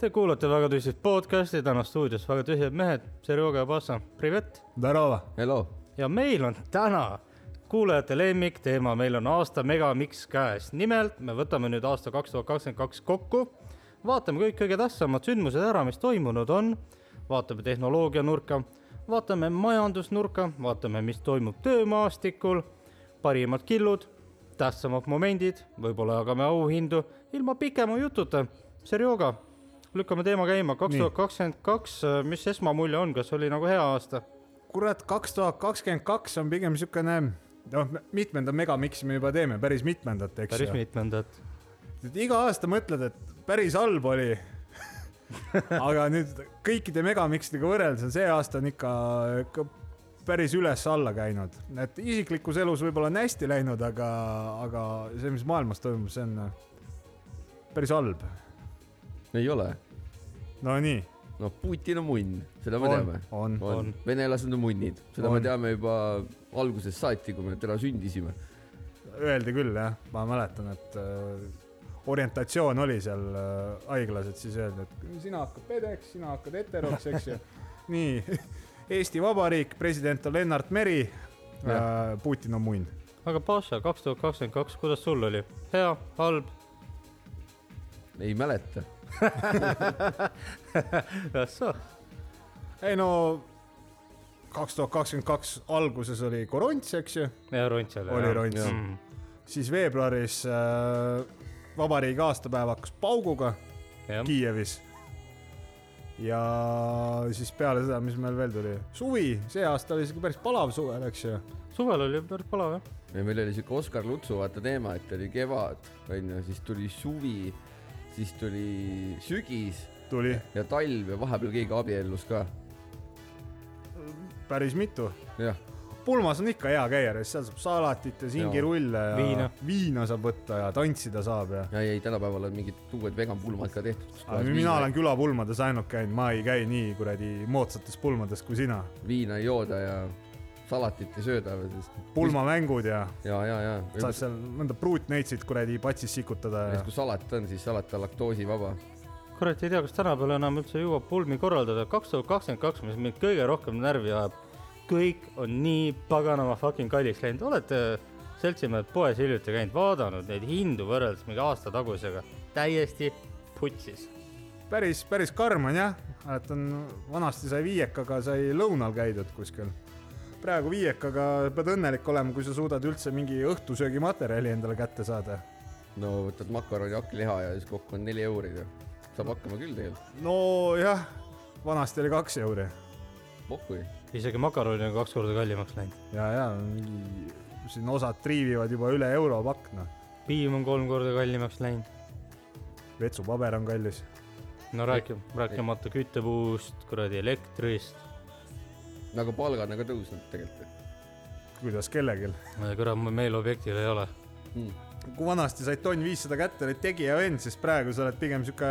Te kuulate väga tõsist podcasti , täna stuudios väga tõsised mehed , Serjoga ja Passa , privet . Здорово. Hello . ja meil on täna kuulajate lemmikteema , meil on aasta megamix käes . nimelt me võtame nüüd aasta kaks tuhat kakskümmend kaks kokku , vaatame kõik kõige tähtsamad sündmused ära , mis toimunud on , vaatame tehnoloogia nurka , vaatame majandusnurka , vaatame , mis toimub töömaastikul , parimad killud , tähtsamad momendid , võib-olla jagame auhindu ilma pikema jututa . Serjoga , lükkame teema käima , kaks tuhat kakskümmend kaks , mis esmamulje on , kas oli nagu hea aasta ? kurat , kaks tuhat kakskümmend kaks on pigem siukene , noh , mitmenda megamiksi me juba teeme , päris mitmendat , eks päris ju . mitmendat iga aasta mõtled , et päris halb oli . aga nüüd kõikide megamikstega võrreldes on see aasta on ikka, ikka päris üles-alla käinud , et isiklikus elus võib-olla on hästi läinud , aga , aga see , mis maailmas toimub , see on noh, päris halb . ei ole , Nonii , no Putin on munn , seda me on teame ,. on , on On. , venelased on munnid , seda On. me teame juba algusest saati , kui me täna sündisime . öeldi küll jah , ma mäletan , et äh, orientatsioon oli seal äh, haiglas , et siis öeldi , et sina hakkad pedeks , sina hakkad heteroks , eks ju . nii , Eesti Vabariik , president on Lennart Meri , Putin on munn . aga Paša , kaks tuhat kakskümmend kaks , kuidas sul oli ? hea , halb ? ei mäleta , ei no , kaks tuhat kakskümmend kaks alguses oli korants , eks ju , ja ront seal . oli ronts , mm. . siis veebruaris äh, vabariigi aastapäev hakkas pauguga jah , Kiievis . ja siis peale seda , mis meil veel tuli , suvi , see aasta oli isegi päris palav suvel , eks ju . suvel oli päris palav jah . meil oli siuke Oskar Lutsu vaata teema , et oli kevad onju , siis tuli suvi , siis tuli sügis tuli ja talv ja vahepeal keegi abiellus ka , päris mitu . jah , pulmas on ikka hea käia , seal saab salatit ja singirulle ja Viina. viina saab võtta ja tantsida saab ja . ja ei tänapäeval on mingid uued vegan pulmad ka tehtud . mina olen külapulmades ainult käinud , ma ei käi nii kuradi moodsates pulmades kui sina . viina ei jooda ja salatit ei sööda , sest pulmamängud ja ja , ja , ja . saad seal mõnda pruutneitsit kuradi patsis sikutada ja kui salat on , siis salat on laktoosivaba kurat , ei tea , kas tänapäeval enam üldse jõuab pulmi korraldada . kaks tuhat kakskümmend kaks , mis mind kõige rohkem närvi ajab . kõik on nii paganama fucking kalliks läinud . olete seltsimehed poes hiljuti käinud , vaadanud neid hindu võrreldes mingi aasta tagusega ? täiesti putsis . päris , päris karm on jah , mäletan vanasti sai viiekaga sai lõunal käidud kuskil . praegu viiekaga pead õnnelik olema , kui sa suudad üldse mingi õhtusöögimaterjali endale kätte saada . no võtad makaroni hakkliha ja siis kokku on neli euri ja saab hakkama küll tegelikult , nojah , vanasti oli kaks euri pohhui . isegi makaronid on kaks korda kallimaks läinud . ja , ja mingi siin osad triivivad juba üle euro pakk , noh . piim on kolm korda kallimaks läinud . vetsupaber on kallis . no rääkima , rääkimata küttepuust , kuradi elektrist , nagu palgad on ka tõusnud tegelikult kuidas kellelgi . Äh, kurat , mul meil objektil ei ole . mm. . kui vanasti said tonn viissada kätte , olid tegija vend , siis praegu sa oled pigem sihuke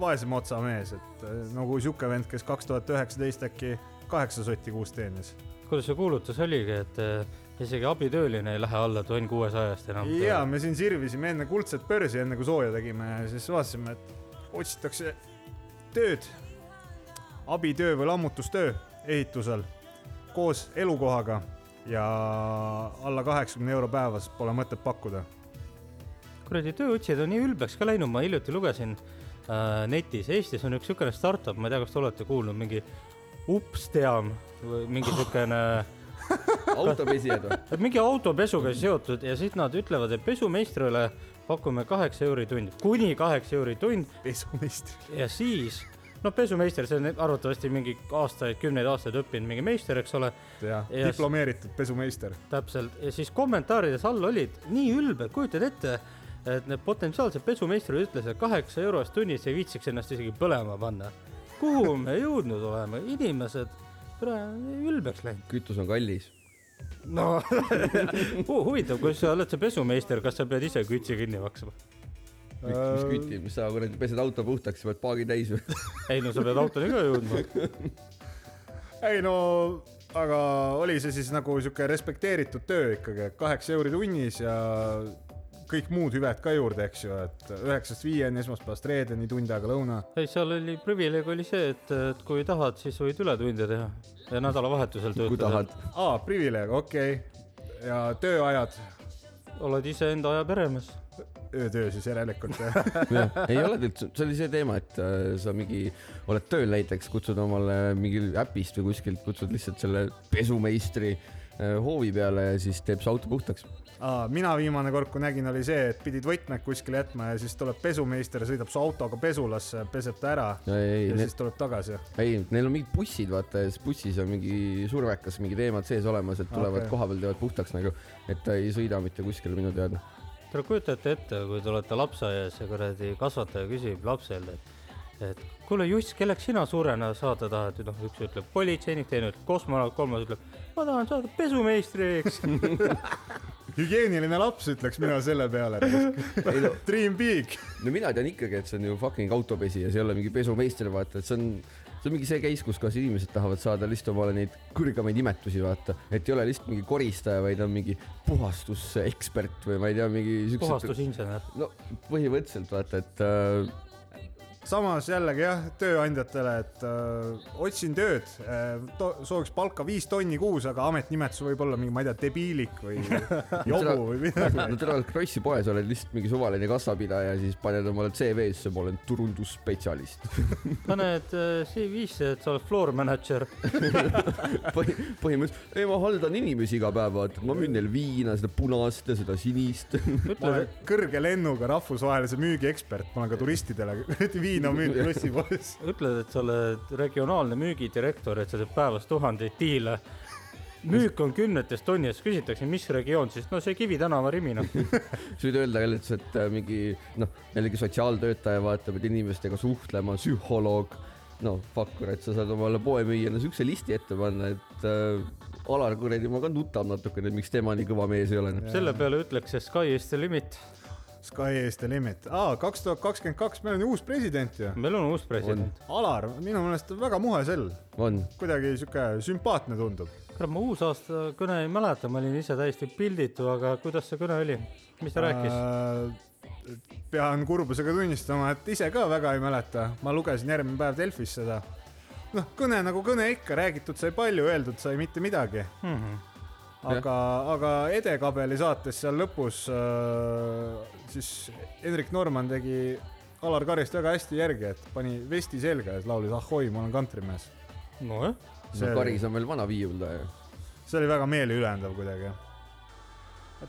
vaesem otsa mees , et eh, nagu sihuke vend , kes kaks tuhat üheksateist äkki kaheksa sotti kuus teenis . kuidas see kuulutus oligi , et eh, isegi abitööline ei lähe alla tonn kuuesajast enam ? ja me siin sirvisime enne kuldset börsi , enne kui sooja tegime , siis vaatasime , et otsitakse tööd , abitöö või lammutustöö ehitusel koos elukohaga ja alla kaheksakümne euro päevas pole mõtet pakkuda . kuradi tööotsijad on nii ülbeks ka läinud , ma hiljuti lugesin äh, netis , Eestis on üks niisugune startup , ma ei tea , kas te olete kuulnud , mingi Upsteam või mingi niisugune autopesijad või ? mingi autopesuga seotud ja siis nad ütlevad , et pesumeistrile pakume kaheksa euri tund , kuni kaheksa euri tund pesumeistri . ja siis , noh , pesumeister , see on arvatavasti mingi aastaid , kümneid aastaid õppinud mingi meister , eks ole , jah Ja- yes. , diplomeeritud pesumeister . täpselt , ja siis kommentaarides all olid nii ülbed , kujutad ette , et need potentsiaalsed pesumeistrid ütlesid , et kaheksa eurost tunnis ei viitsiks ennast isegi põlema panna . kuhu me jõudnud oleme , inimesed , ülbeks läinud . kütus on kallis . no huvitav , kui sa oled see pesumeister , kas sa pead ise kütsi kinni maksma ? mis Äh, mis küti , mis sa kuradi pesed auto puhtaks , sa pead paagi täis või ? ei no sa pead autoni ka jõudma . ei no , aga oli see siis nagu sihuke respekteeritud töö ikkagi , kaheksa euri tunnis ja kõik muud hüved ka juurde , eks ju , et üheksast viieni , esmaspäevast reedeni , tund aega lõuna . ei , seal oli privileeg oli see , et , et kui tahad , siis võid ületunde teha ja nädalavahetusel kui tahad töötada .. aa , privileeg , okei okay. . ja tööajad , oled iseenda aja peremees . öötöö siis järelikult jah . ei ole teilt , see oli see teema , et äh, sa mingi , oled tööl näiteks , kutsud omale mingil äpist või kuskilt , kutsud lihtsalt selle pesumeistri äh, hoovi peale ja siis teeb su auto puhtaks . Aa, mina viimane kord , kui nägin , oli see , et pidid võtmed kuskile jätma ja siis tuleb pesumeister , sõidab su autoga pesulasse , peseb ta ära ja, ei , ei ja , ne, siis tuleb tagasi . ei , neil on mingid bussid , vaata ja siis bussis on mingi survekas , mingi teemad sees olemas , et tulevad Okei. okay. koha peal , teevad puhtaks nagu , et ta ei sõida mitte kuskile minu teada . Te kujutate ette , kui te olete lapseaias ja kuradi kasvataja küsib lapsele , et , et kuule Juss , kelleks sina suurena saada tahad , noh , üks ütleb politseinik , teine ütleb kosmonaut , kolmas ütleb , ma tahan saada pesumeistriks . hügieeniline laps , ütleks mina selle peale . Dream big . no mina tean ikkagi , et see on ju fucking autopesi ja see ei ole mingi pesumeister , vaata , et see on , see on mingi see case , kus kas inimesed tahavad saada lihtsalt omale neid kõrgemaid imetusi , vaata , et ei ole lihtsalt mingi koristaja , vaid on mingi puhastusekspert või ma ei tea , mingi siukse . puhastusinsener . no põhimõtteliselt vaata , et äh, samas jällegi jah , tööandjatele , et äh, otsin tööd äh, , sooviks palka viis tonni kuus , aga ametnimetus võib olla mingi , ma ei tea , debiilik või jobu või midagi . no tervelt Krossi poes oled lihtsalt mingi suvaline kassapidaja , siis paned omale CV-sse , ma olen turundusspetsialist . paned äh, CV-sse , et sa oled floor manager . Põhi, põhimõtteliselt , ei ma haldan inimesi iga päev , vaata , ma müün neile viina , seda punast ja seda sinist ma ütle olen , kõrge lennuga rahvusvahelise müügi ekspert , ma olen ka turistidele kuradi viina müünud lossipoes . ütled , et sa oled regionaalne müügidirektor , et sa teed päevas tuhandeid diile . müük on kümnetes tonnides , küsitakse , mis regioon siis , no see Kivi tänava Rimi noh . sa võid öelda ka lihtsalt , et äh, mingi noh , jällegi sotsiaaltöötaja vaatab , et inimestega suhtlema , psühholoog , no fuck kurat , sa saad omale poemüüjana siukse listi ette panna , et äh, Alar kuradi , ma ka nutan natukene , miks tema nii kõva mees ei ole . noh. selle peale ütleks , et sky is the limit . Sky Eesti Limit , aa , kaks tuhat kakskümmend kaks , meil on ju uus president ju . meil on uus president . Alar , minu meelest on väga muhe sell , on , kuidagi sihuke sümpaatne tundub . kurat , ma uusaasta kõne ei mäleta , ma olin ise täiesti pilditu , aga kuidas see kõne oli , mis ta rääkis ? rääkis ? Äh, pean kurbusega tunnistama , et ise ka väga ei mäleta , ma lugesin järgmine päev Delfis seda . noh , kõne nagu kõne ikka , räägitud sai palju , öeldud sai mitte midagi , Mhm. aga , aga edekabeli saates seal lõpus äh, siis Hendrik Norman tegi Alar Karist väga hästi järgi , et pani vesti selga ja siis laulis Ahoi , ma olen kantrimees . nojah , See- no Karis on veel vana viiuldaja . see oli väga meeliülendav kuidagi .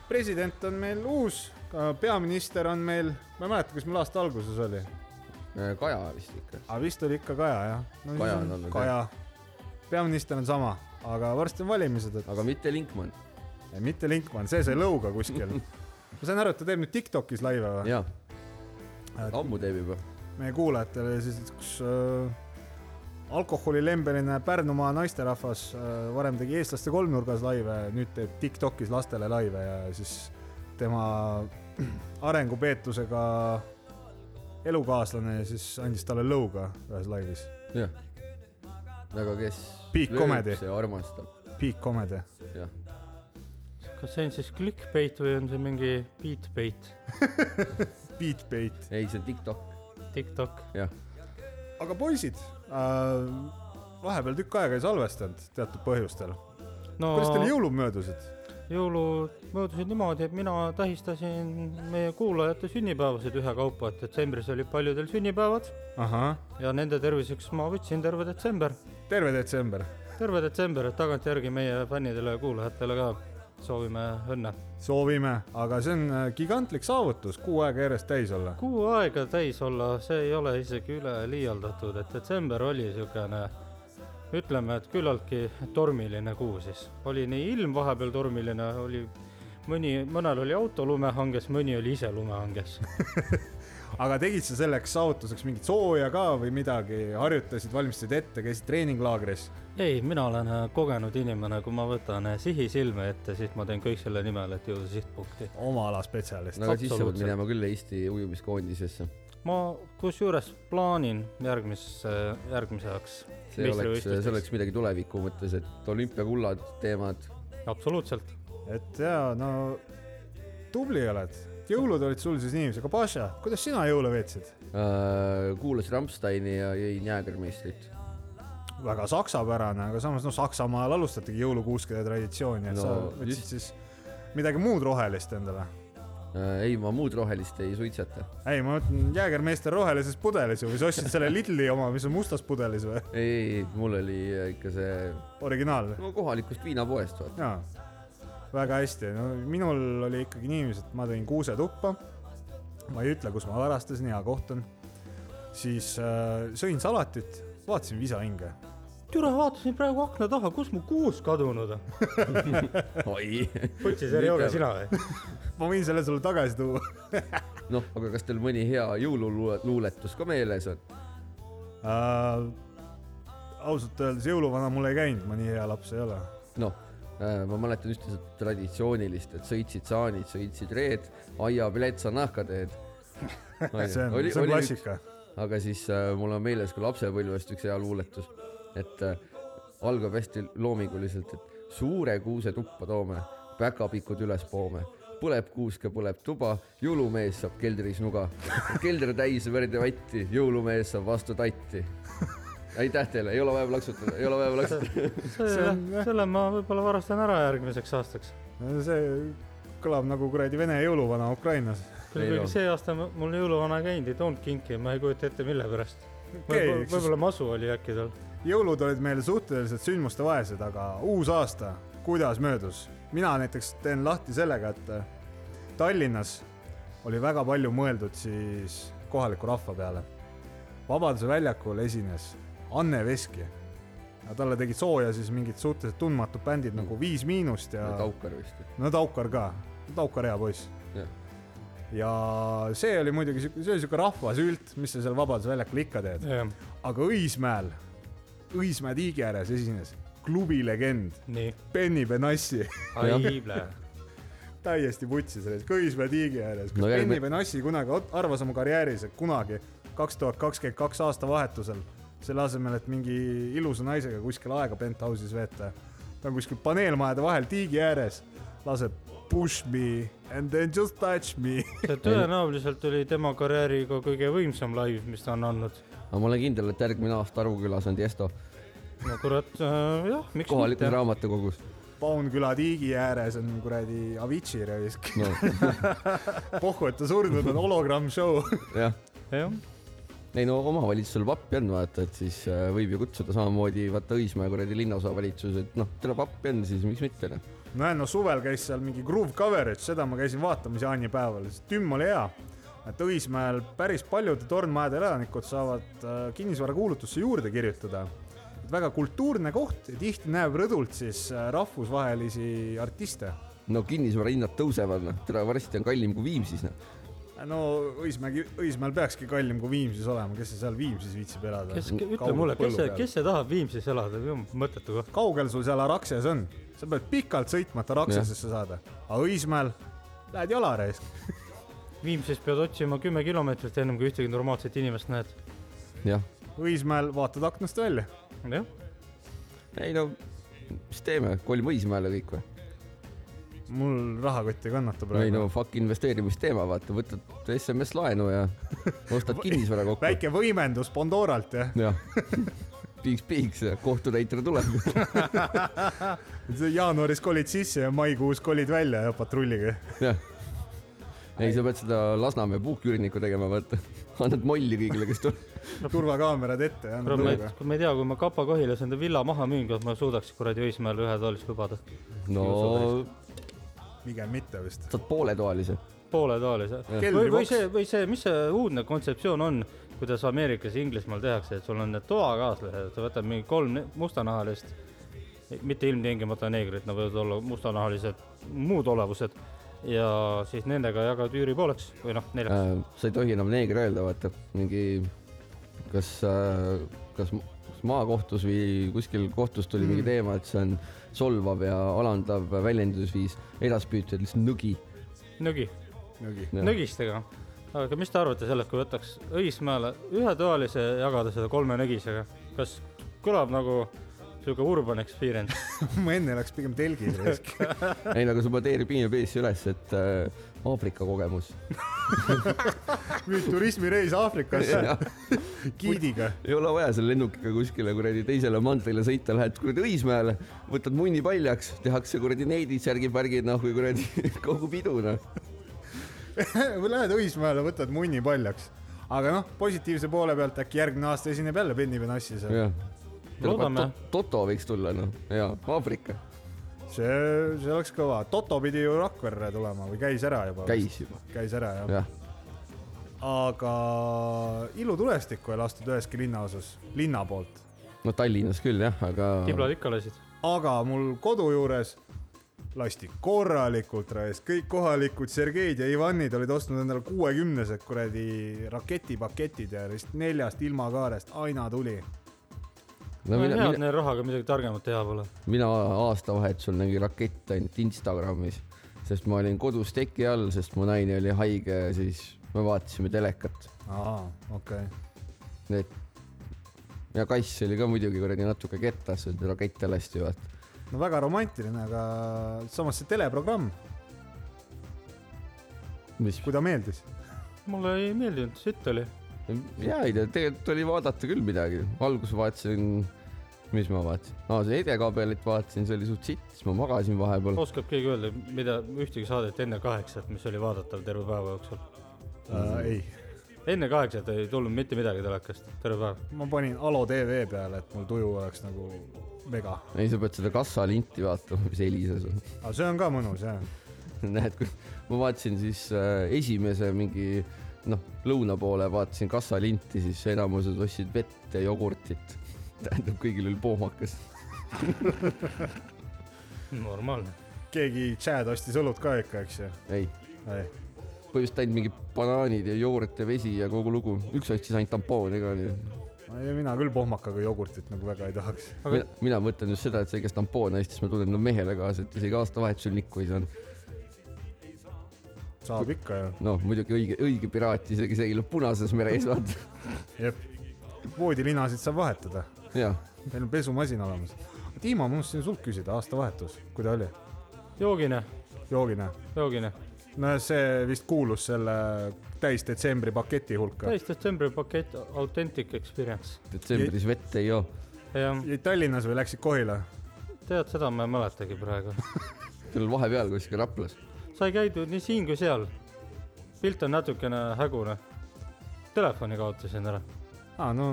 president on meil uus , peaminister on meil , ma ei mäleta , kes meil aasta alguses oli , äh, Kaja vist ikka . aga vist oli ikka Kaja jah no, siis Kaja on olnud, Kaja , peaminister on sama , aga varsti on valimised , et aga mitte Linkmann . Ei, mitte Linkmann , see sai lõuga kuskil . ma sain aru , et ta teeb nüüd Tiktokis laive või ? jaa , Ah, ammu teeb juba . meie kuulajatele siis , et kus äh, alkoholilembeline Pärnumaa naisterahvas äh, varem tegi eestlaste kolmnurgas laive , nüüd teeb Tiktokis lastele laive ja siis tema arengupeetusega elukaaslane siis andis talle lõuga ühes laivis . jah . aga kes Big comedy. see armastab , Big comedy . jah . kas see on siis clickbait või on see mingi beatbait , Beatbait . ei , see on TikTok , Tiktok ? jah . aga poisid äh, , vahepeal tükk aega ei salvestanud teatud põhjustel . no kuidas teil jõulud möödusid ? jõulud möödusid niimoodi , et mina tähistasin meie kuulajate sünnipäevasid ühekaupa , et detsembris olid paljudel sünnipäevad ahah , ja nende terviseks ma võtsin terve detsember , terve detsember . terve detsember , et tagantjärgi meie fännidele ja kuulajatele ka soovime õnne . soovime , aga see on äh, gigantlik saavutus , kuu aega järjest täis olla . kuu aega täis olla , see ei ole isegi üle liialdatud , et detsember oli niisugune ütleme , et küllaltki tormiline kuu siis . oli nii ilm vahepeal tormiline , oli mõni , mõnel oli auto lumehanges , mõni oli ise lumehanges . aga tegid sa selleks saavutuseks mingit sooja ka või midagi , harjutasid , valmistasid ette , käisid treeninglaagris ? ei , mina olen äh, kogenud inimene , kui ma võtan äh, sihi silme ette , siis ma teen kõik selle nimel , et jõuda sihtpunkti . oma ala spetsialist no aga siis sa pead Absoluutselt. minema küll Eesti ujumiskoondisesse . ma kusjuures plaanin järgmise , järgmiseks see oleks , see oleks . midagi tuleviku mõttes , et olümpiakullad , teemad , absoluutselt . no. . et jaa , no tubli oled , et jõulud olid sul siis niiviisi , aga Paša , kuidas sina jõule veetsid ? kuulas Äh, Rammsteini ja jõin jäägermeistrit . väga saksapärane , aga samas noh , Saksamaal alustatigi jõulukuuskede traditsiooni , et no, sa No, võtsid siis midagi muud rohelist endale . Äh, ei , ma muud rohelist ei suitseta . ei , ma mõtlen Jäägermeister rohelises pudelis ju või sa ostsid selle Lidli oma , mis on mustas pudelis või ? ei , ei , mul oli äh, ikka see originaal või ? no, kohalikust viinapoest , vaata . jaa , väga hästi , no minul oli ikkagi niiviisi , et ma tõin kuuse tuppa . ma ei ütle , kus ma varastasin , hea koht on . siis äh, sõin salatit , vaatasin Visa hinge . türa , vaatasin praegu akna taha , kus mu kuusk kadunud on . oi , võtsid selle jooge sina eh? või ? ma võin selle sulle tagasi tuua . noh , aga kas teil mõni hea jõululuuletus ka meeles on ? äh, . ausalt öeldes jõuluvana mul ei käinud , ma nii hea laps ei ole . noh , ma mäletan just seda traditsioonilist , et sõitsid saanid , sõitsid reed , aia piletsa nahkateed . see on , see on klassika . aga siis äh, mul on meeles ka lapsepõlvest üks hea luuletus , et äh, algab hästi loominguliselt , et suure kuuse tuppa toome , päkapikud üles poome , põleb kuuske , põleb tuba , jõulumees saab keldris nuga , kelder täis verd ja vatti , jõulumees saab vastu tatti . aitäh teile , ei ole vaja plaksutada , ei ole vaja plaksutada . selle , selle ma võib-olla varastan ära järgmiseks aastaks . see kõlab nagu kuradi vene jõuluvana Ukrainas . küll , Ei kuigi no. see aasta mu- mul jõuluvana ei käinud , ei toonud kinki , ma ei kujuta ette , mille pärast . Okei, eks siis- võib-olla masu oli äkki tal . jõulud olid meil suhteliselt sündmustevaesed , aga uus aasta , kuidas möödus ? mina näiteks teen lahti sellega , et äh, Tallinnas oli väga palju mõeldud siis kohaliku rahva peale . Vabaduse väljakul esines Anne Veski ja talle tegid sooja siis mingid suhteliselt tundmatud bändid nagu Viis Miinust ja Taukar vist . no Taukar ka , Taukar hea poiss . ja see oli muidugi siuke , see oli siuke rahvasült , mis sa seal Vabaduse väljakul ikka teed . aga Õismäel , Õismäe tiigi ääres esines klubilegend nii . Benny Benassi , Aible . täiesti vutsi selles Õismäe tiigi ääres , kus No no, järgmine- Benny Benassi kunagi ot- arvas oma karjääris , et kunagi kaks tuhat kakskümmend kaks aastavahetusel , selle asemel , et mingi ilusa naisega kuskil aega penthouse'is veeta , ta on kuskil paneelmajade vahel tiigi ääres , laseb push me and then just touch me . see tõenäoliselt oli tema karjääriga kõige võimsam laiv , mis ta on andnud . aga ma olen kindel , et järgmine aasta Aru külas on Tiesto no kurat , jah , miks kohalikus mitte . raamatukogus . Paunküla tiigi ääres on kuradi Avicii raisk , no pohhu , et ta surnud on , hologramm show jah , jah , ei no omavalitsusel pappi on vaata , et siis äh, võib ju kutsuda samamoodi vaata Õismäe kuradi linnaosavalitsus , et noh , tuleb appi on , siis miks mitte noh . nojah , no suvel käis seal mingi groove coverage , seda ma käisin vaatamas jaanipäeval , tümm oli hea . et Õismäel päris paljude tornmajade elanikud saavad äh, kinnisvarakuulutusse juurde kirjutada . väga kultuurne koht ja tihti näeb rõdult siis äh, rahvusvahelisi artiste . no kinnisvara hinnad tõusevad noh , tere varsti on kallim kui Viimsis noh . no Õismägi , Õismäel peakski kallim kui Viimsis olema , kes see seal Viimsis viitsib elada . kes , ütle mulle , kes see , kes see tahab Viimsis elada , mõttetu koht . kaugel sul seal Araxias on , sa pead pikalt sõitma , et Araxiasesse saada , aga Õismäel lähed jala reis . Viimsis pead otsima kümme kilomeetrit ennem kui ühtegi normaalset inimest näed . jah , Õismäel vaatad aknast välja jah , ei no , mis teeme , kolm Õismäele kõik või ? mul rahakott ei kannata ei praegu no . fuck investeerimisteema , vaata , võtad SMS laenu ja ostad kinnisvara kokku . väike võimendus Pandoralt jah , jah , piiks-piiks , kohtutäitur tuleb . jaanuaris kolid sisse ja maikuus kolid välja ja patrulliga . jah . ei , sa pead seda Lasnamäe puuküürnikku tegema , vaata . annad molli kõigile , kes tuleb . turvakaamerad ette ja annad ma ei lõuga ., ma ei tea , kui ma Kapa Kohilas enda villa maha müün , kas ma suudaks kuradi Õismäele ühetoalist lubada ? no pigem mitte vist . saad pooletoalise . pooletoalise . või , Keldriboks. või see , või see , mis see uudne kontseptsioon on , kuidas Ameerikas ja Inglismaal tehakse , et sul on need toakaaslased , sa võtad mingi kolm ne- mustanahalist , mitte ilmtingimata neegrit , nad võivad olla mustanahalised , muud olevused ja siis nendega jagad üüri pooleks või noh , neljaks . Äh, sa ei tohi enam neegri öelda , vaata mingi , kas , kas m- kas maakohtus või kuskil kohtus tuli mm. mingi teema , et see on solvav ja alandav väljendusviis , edaspidi ütled lihtsalt nõgi . nõgi , nõgistega . aga mis te arvate sellest , kui võtaks Õismäele ühetoalise ja jagada seda kolme nõgisega , kas kõlab nagu sihuke urban experience . ma enne läks pigem telgile risk . ei , no aga sa padeerid piimipeesi üles , et äh, Aafrika kogemus . nüüd turismireis Aafrikasse ei giidiga . ole vaja selle lennukiga kuskile kuradi teisele mandrile sõita , lähed kuradi Õismäele , võtad munni paljaks , tehakse kuradi neidid , särgipärgid , noh , või kuradi kogu pidu , noh . või lähed Õismäele , võtad munni paljaks . aga noh , positiivse poole pealt äkki järgmine aasta esineb jälle Benny Benassi seal . jah . Loodame. . Toto võiks tulla , noh , ja Aafrika see , see oleks kõva . Toto pidi ju Rakverre tulema või käis ära juba ? käis juba , käis ära jah ja. . jah . aga ilutulestikku ei lastud üheski linnaosas , linna poolt . no Tallinnas küll jah , aga kiblad ikka lasid . aga mul kodu juures lasti korralikult raisk , kõik kohalikud Sergeid ja Ivanid olid ostnud endale kuuekümnesed kuradi raketipaketid ja vist neljast ilmakaarest aina tuli . no no mina , hea , et mina , neil rahaga midagi targemat teha pole . mina aastavahetusel nägin rakette ainult Instagramis , sest ma olin kodus teki all , sest mu naine oli haige ja siis me vaatasime telekat . aa , okei okay. . et ja kass oli ka muidugi kuradi natuke kettas , et rakette lasti vaata . no väga romantiline , aga samas see teleprogramm , mis , kui ta meeldis . Äh, mulle ei meeldinud , sitt oli . ja ei tea , tegelikult oli vaadata küll midagi , alguses vaatasin , mis ma vaatasin , aa seda edekaabelit vaatasin , see oli suht sitt , siis ma magasin vahepeal . oskab keegi öelda , mida , ühtegi saadet enne kaheksat , mis oli vaadatav terve päeva jooksul ? Uh, ei , enne kaheksat ei tulnud mitte midagi telekast , terve päev . ma panin Alo tv peale , et mul tuju oleks nagu mega . ei , sa pead seda kassalinti vaatama , mis helises on . aga see on ka mõnus jah . näed , kui ma vaatasin siis äh, esimese mingi noh , lõuna poole vaatasin kassalinti , siis enamused ostsid vett ja jogurtit . tähendab , kõigil oli pohmakas . normaalne . keegi Chad ostis õlut ka ikka , eks ju ? ei , ei , põhimõtteliselt ainult mingi banaanid ja jogurt ja vesi ja kogu lugu . üks ostis ainult tampooni ka nii . mina küll pohmakaga jogurtit nagu väga ei tahaks . Aga- Mina, mina mõtlen just seda , et see , kes tampoone ostis , ma tunnen no mehele kaasa , et isegi aastavahetusel nikku ei saanud . saab ikka ju . noh , muidugi õige , õige piraat , isegi see , kellel punases meres vaata . jep , voodilinasid saab vahetada , jah , meil on pesumasin olemas . Tiimo , ma unustasin sult küsida , aastavahetus , kuidas oli joogine , joogina ? joogine . no see vist kuulus selle täis detsembri paketi hulka . täis detsembri pakett , authentic experience . detsembris vett ei joo . jah , jäid Tallinnas või läksid Kohila ? tead , seda ma ei mäletagi praegu . seal vahepeal kuskil Raplas . sai käidud nii siin kui seal . pilt on natukene hägune . Telefoni kaotasin ära . aa , no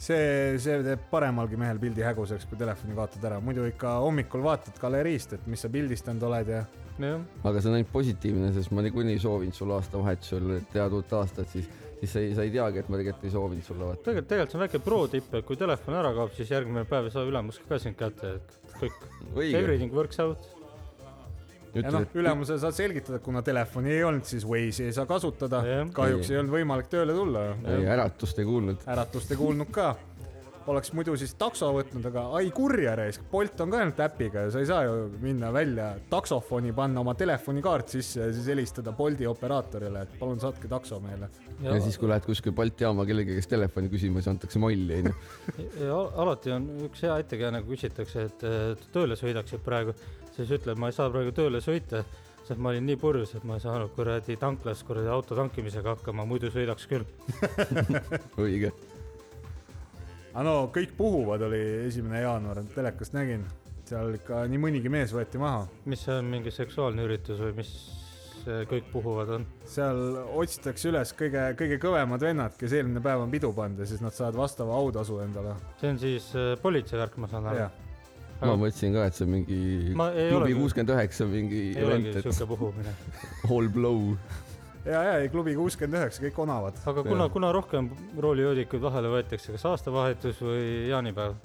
see , see teeb paremalgi mehel pildi häguseks , kui telefoni kaotad ära , muidu ikka hommikul vaatad galeriist , et mis sa pildistanud oled ja jah , aga see on ainult positiivne , sest ma niikuinii soovin sulle aastavahetusel tead uut aastat , siis , siis sa ei , sa ei teagi , et ma tegelikult ei soovinud sulle vaata . tegelikult , tegelikult see on väike pro tipp , et kui telefon ära kaob , siis järgmine päev ei saa ülemus ka sind kätte , et kõik . õige , Everything works out . ja ütle noh , no, , ülemusele saad selgitada , et kuna telefoni ei olnud , siis Waze'i ei saa kasutada Jah. , kahjuks ei olnud võimalik tööle tulla . et äratust ei kuulnud . äratust ei kuulnud ka . oleks muidu siis takso võtnud , aga ai kurja raisk , Bolt on ka ainult äpiga ja sa ei saa ju minna välja taksofoni , panna oma telefonikaart sisse ja siis helistada Bolti operaatorile , et palun saatke takso meile . ja siis , kui lähed kuskil Balti jaama kellegi käest telefoni küsima , siis antakse molli , onju . ja al- alati on üks hea ettekääne , kui küsitakse , et et tööle sõidaksid praegu , siis ütled , ma ei saa praegu tööle sõita , sest ma olin nii purjus , et ma ei saanud kuradi tanklas kuradi auto tankimisega hakkama , muidu sõidaks küll . õige . aga Ah no kõik puhuvad , oli esimene jaanuar , telekast nägin , seal ikka nii mõnigi mees võeti maha , mis see on , mingi seksuaalne üritus või mis see kõik puhuvad on ? seal otsitakse üles kõige-kõige kõvemad vennad , kes eelmine päev on pidu pannud ja siis nad saavad vastava autasu endale . see on siis äh, politsei värk , ma saan aru jah ,. ma mõtlesin ka , et see on mingi Ma ei klubi olegi- kuuskümmend üheksa mingi ei olegi event , et siuke puhumine , all blow . ja , ja , ja klubi kuuskümmend üheksa , kõik onavad . aga kuna Jah. , kuna rohkem roolijoodikuid vahele võetakse , kas aastavahetus või jaanipäev ?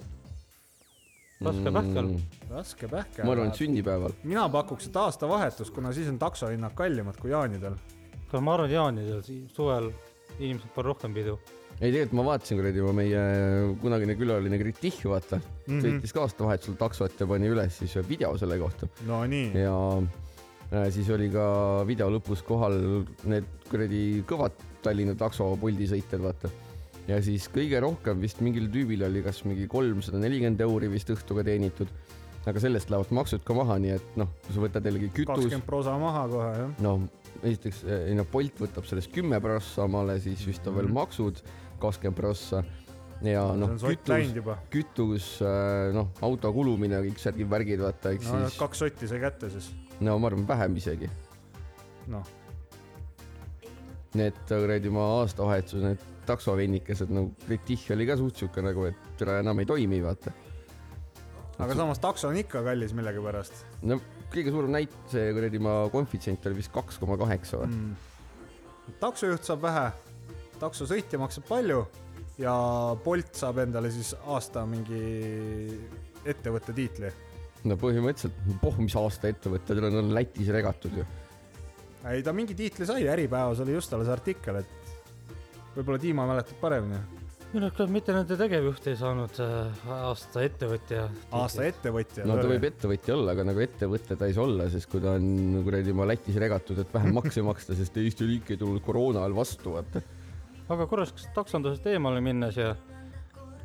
Mm. raske pähkel . raske pähkel . ma arvan , et sünnipäeval . mina pakuks , et aastavahetus , kuna siis on taksohinnad kallimad kui jaanidel . kas ma arvan , et jaanidel si- suvel inimesed pole rohkem pidu ? ei , tegelikult ma vaatasin kuradi juba meie kunagine külaline Gritih , vaata mm , Mhm. -hmm. sõitis ka aastavahetusel taksot ja pani üles siis video selle kohta . Nonii , ja äh, siis oli ka video lõpus kohal need kuradi kõvad Tallinna takso puldisõitjad , vaata . ja siis kõige rohkem vist mingil tüübil oli kas mingi kolmsada nelikümmend euri vist õhtuga teenitud . aga sellest lähevad maksud ka maha , nii et noh , kui sa võtad jällegi kütus , kakskümmend prosa maha kohe jah . no esiteks , ei no Bolt võtab sellest kümme prossa omale , siis vist on veel maksud kakskümmend prossa ja Mhm. see noh on , sott kütus , läinud juba . kütus , noh , auto kulumine , kõik särgid , värgid , vaata , eks no siis , kaks sotti sai kätte siis . no ma arvan , vähem isegi . noh , Need kuradi ma aastavahetusel need taksoveinikesed nagu kõik tihja oli ka suht siuke nagu , et türa enam ei toimi , vaata . aga samas takso on ikka kallis millegipärast no kõige suurem näit , see kuradi ma koefitsient oli vist kaks koma kaheksa või ? mm. . taksojuht saab vähe , taksosõitja maksab palju ja Bolt saab endale siis aasta mingi ettevõtte tiitli . no põhimõtteliselt , poh , mis aasta ettevõtted on , on Lätis regatud ju . ei , ta mingi tiitli sai , Äripäevas oli just alles artikkel , et võib-olla Dima mäletab paremini . minu arust mitte nende tegevjuht ei saanud äh, aasta ettevõtja . aasta ettevõtja . no ta võib ettevõtja olla , aga nagu ettevõte ta ei saa olla , sest kui ta on kuradi ma Lätis regatud , et vähem makse maksta , sest Eesti riik ei tulnud koroona ajal vastu , vaata . aga korraks kas taksondusest eemale minnes ja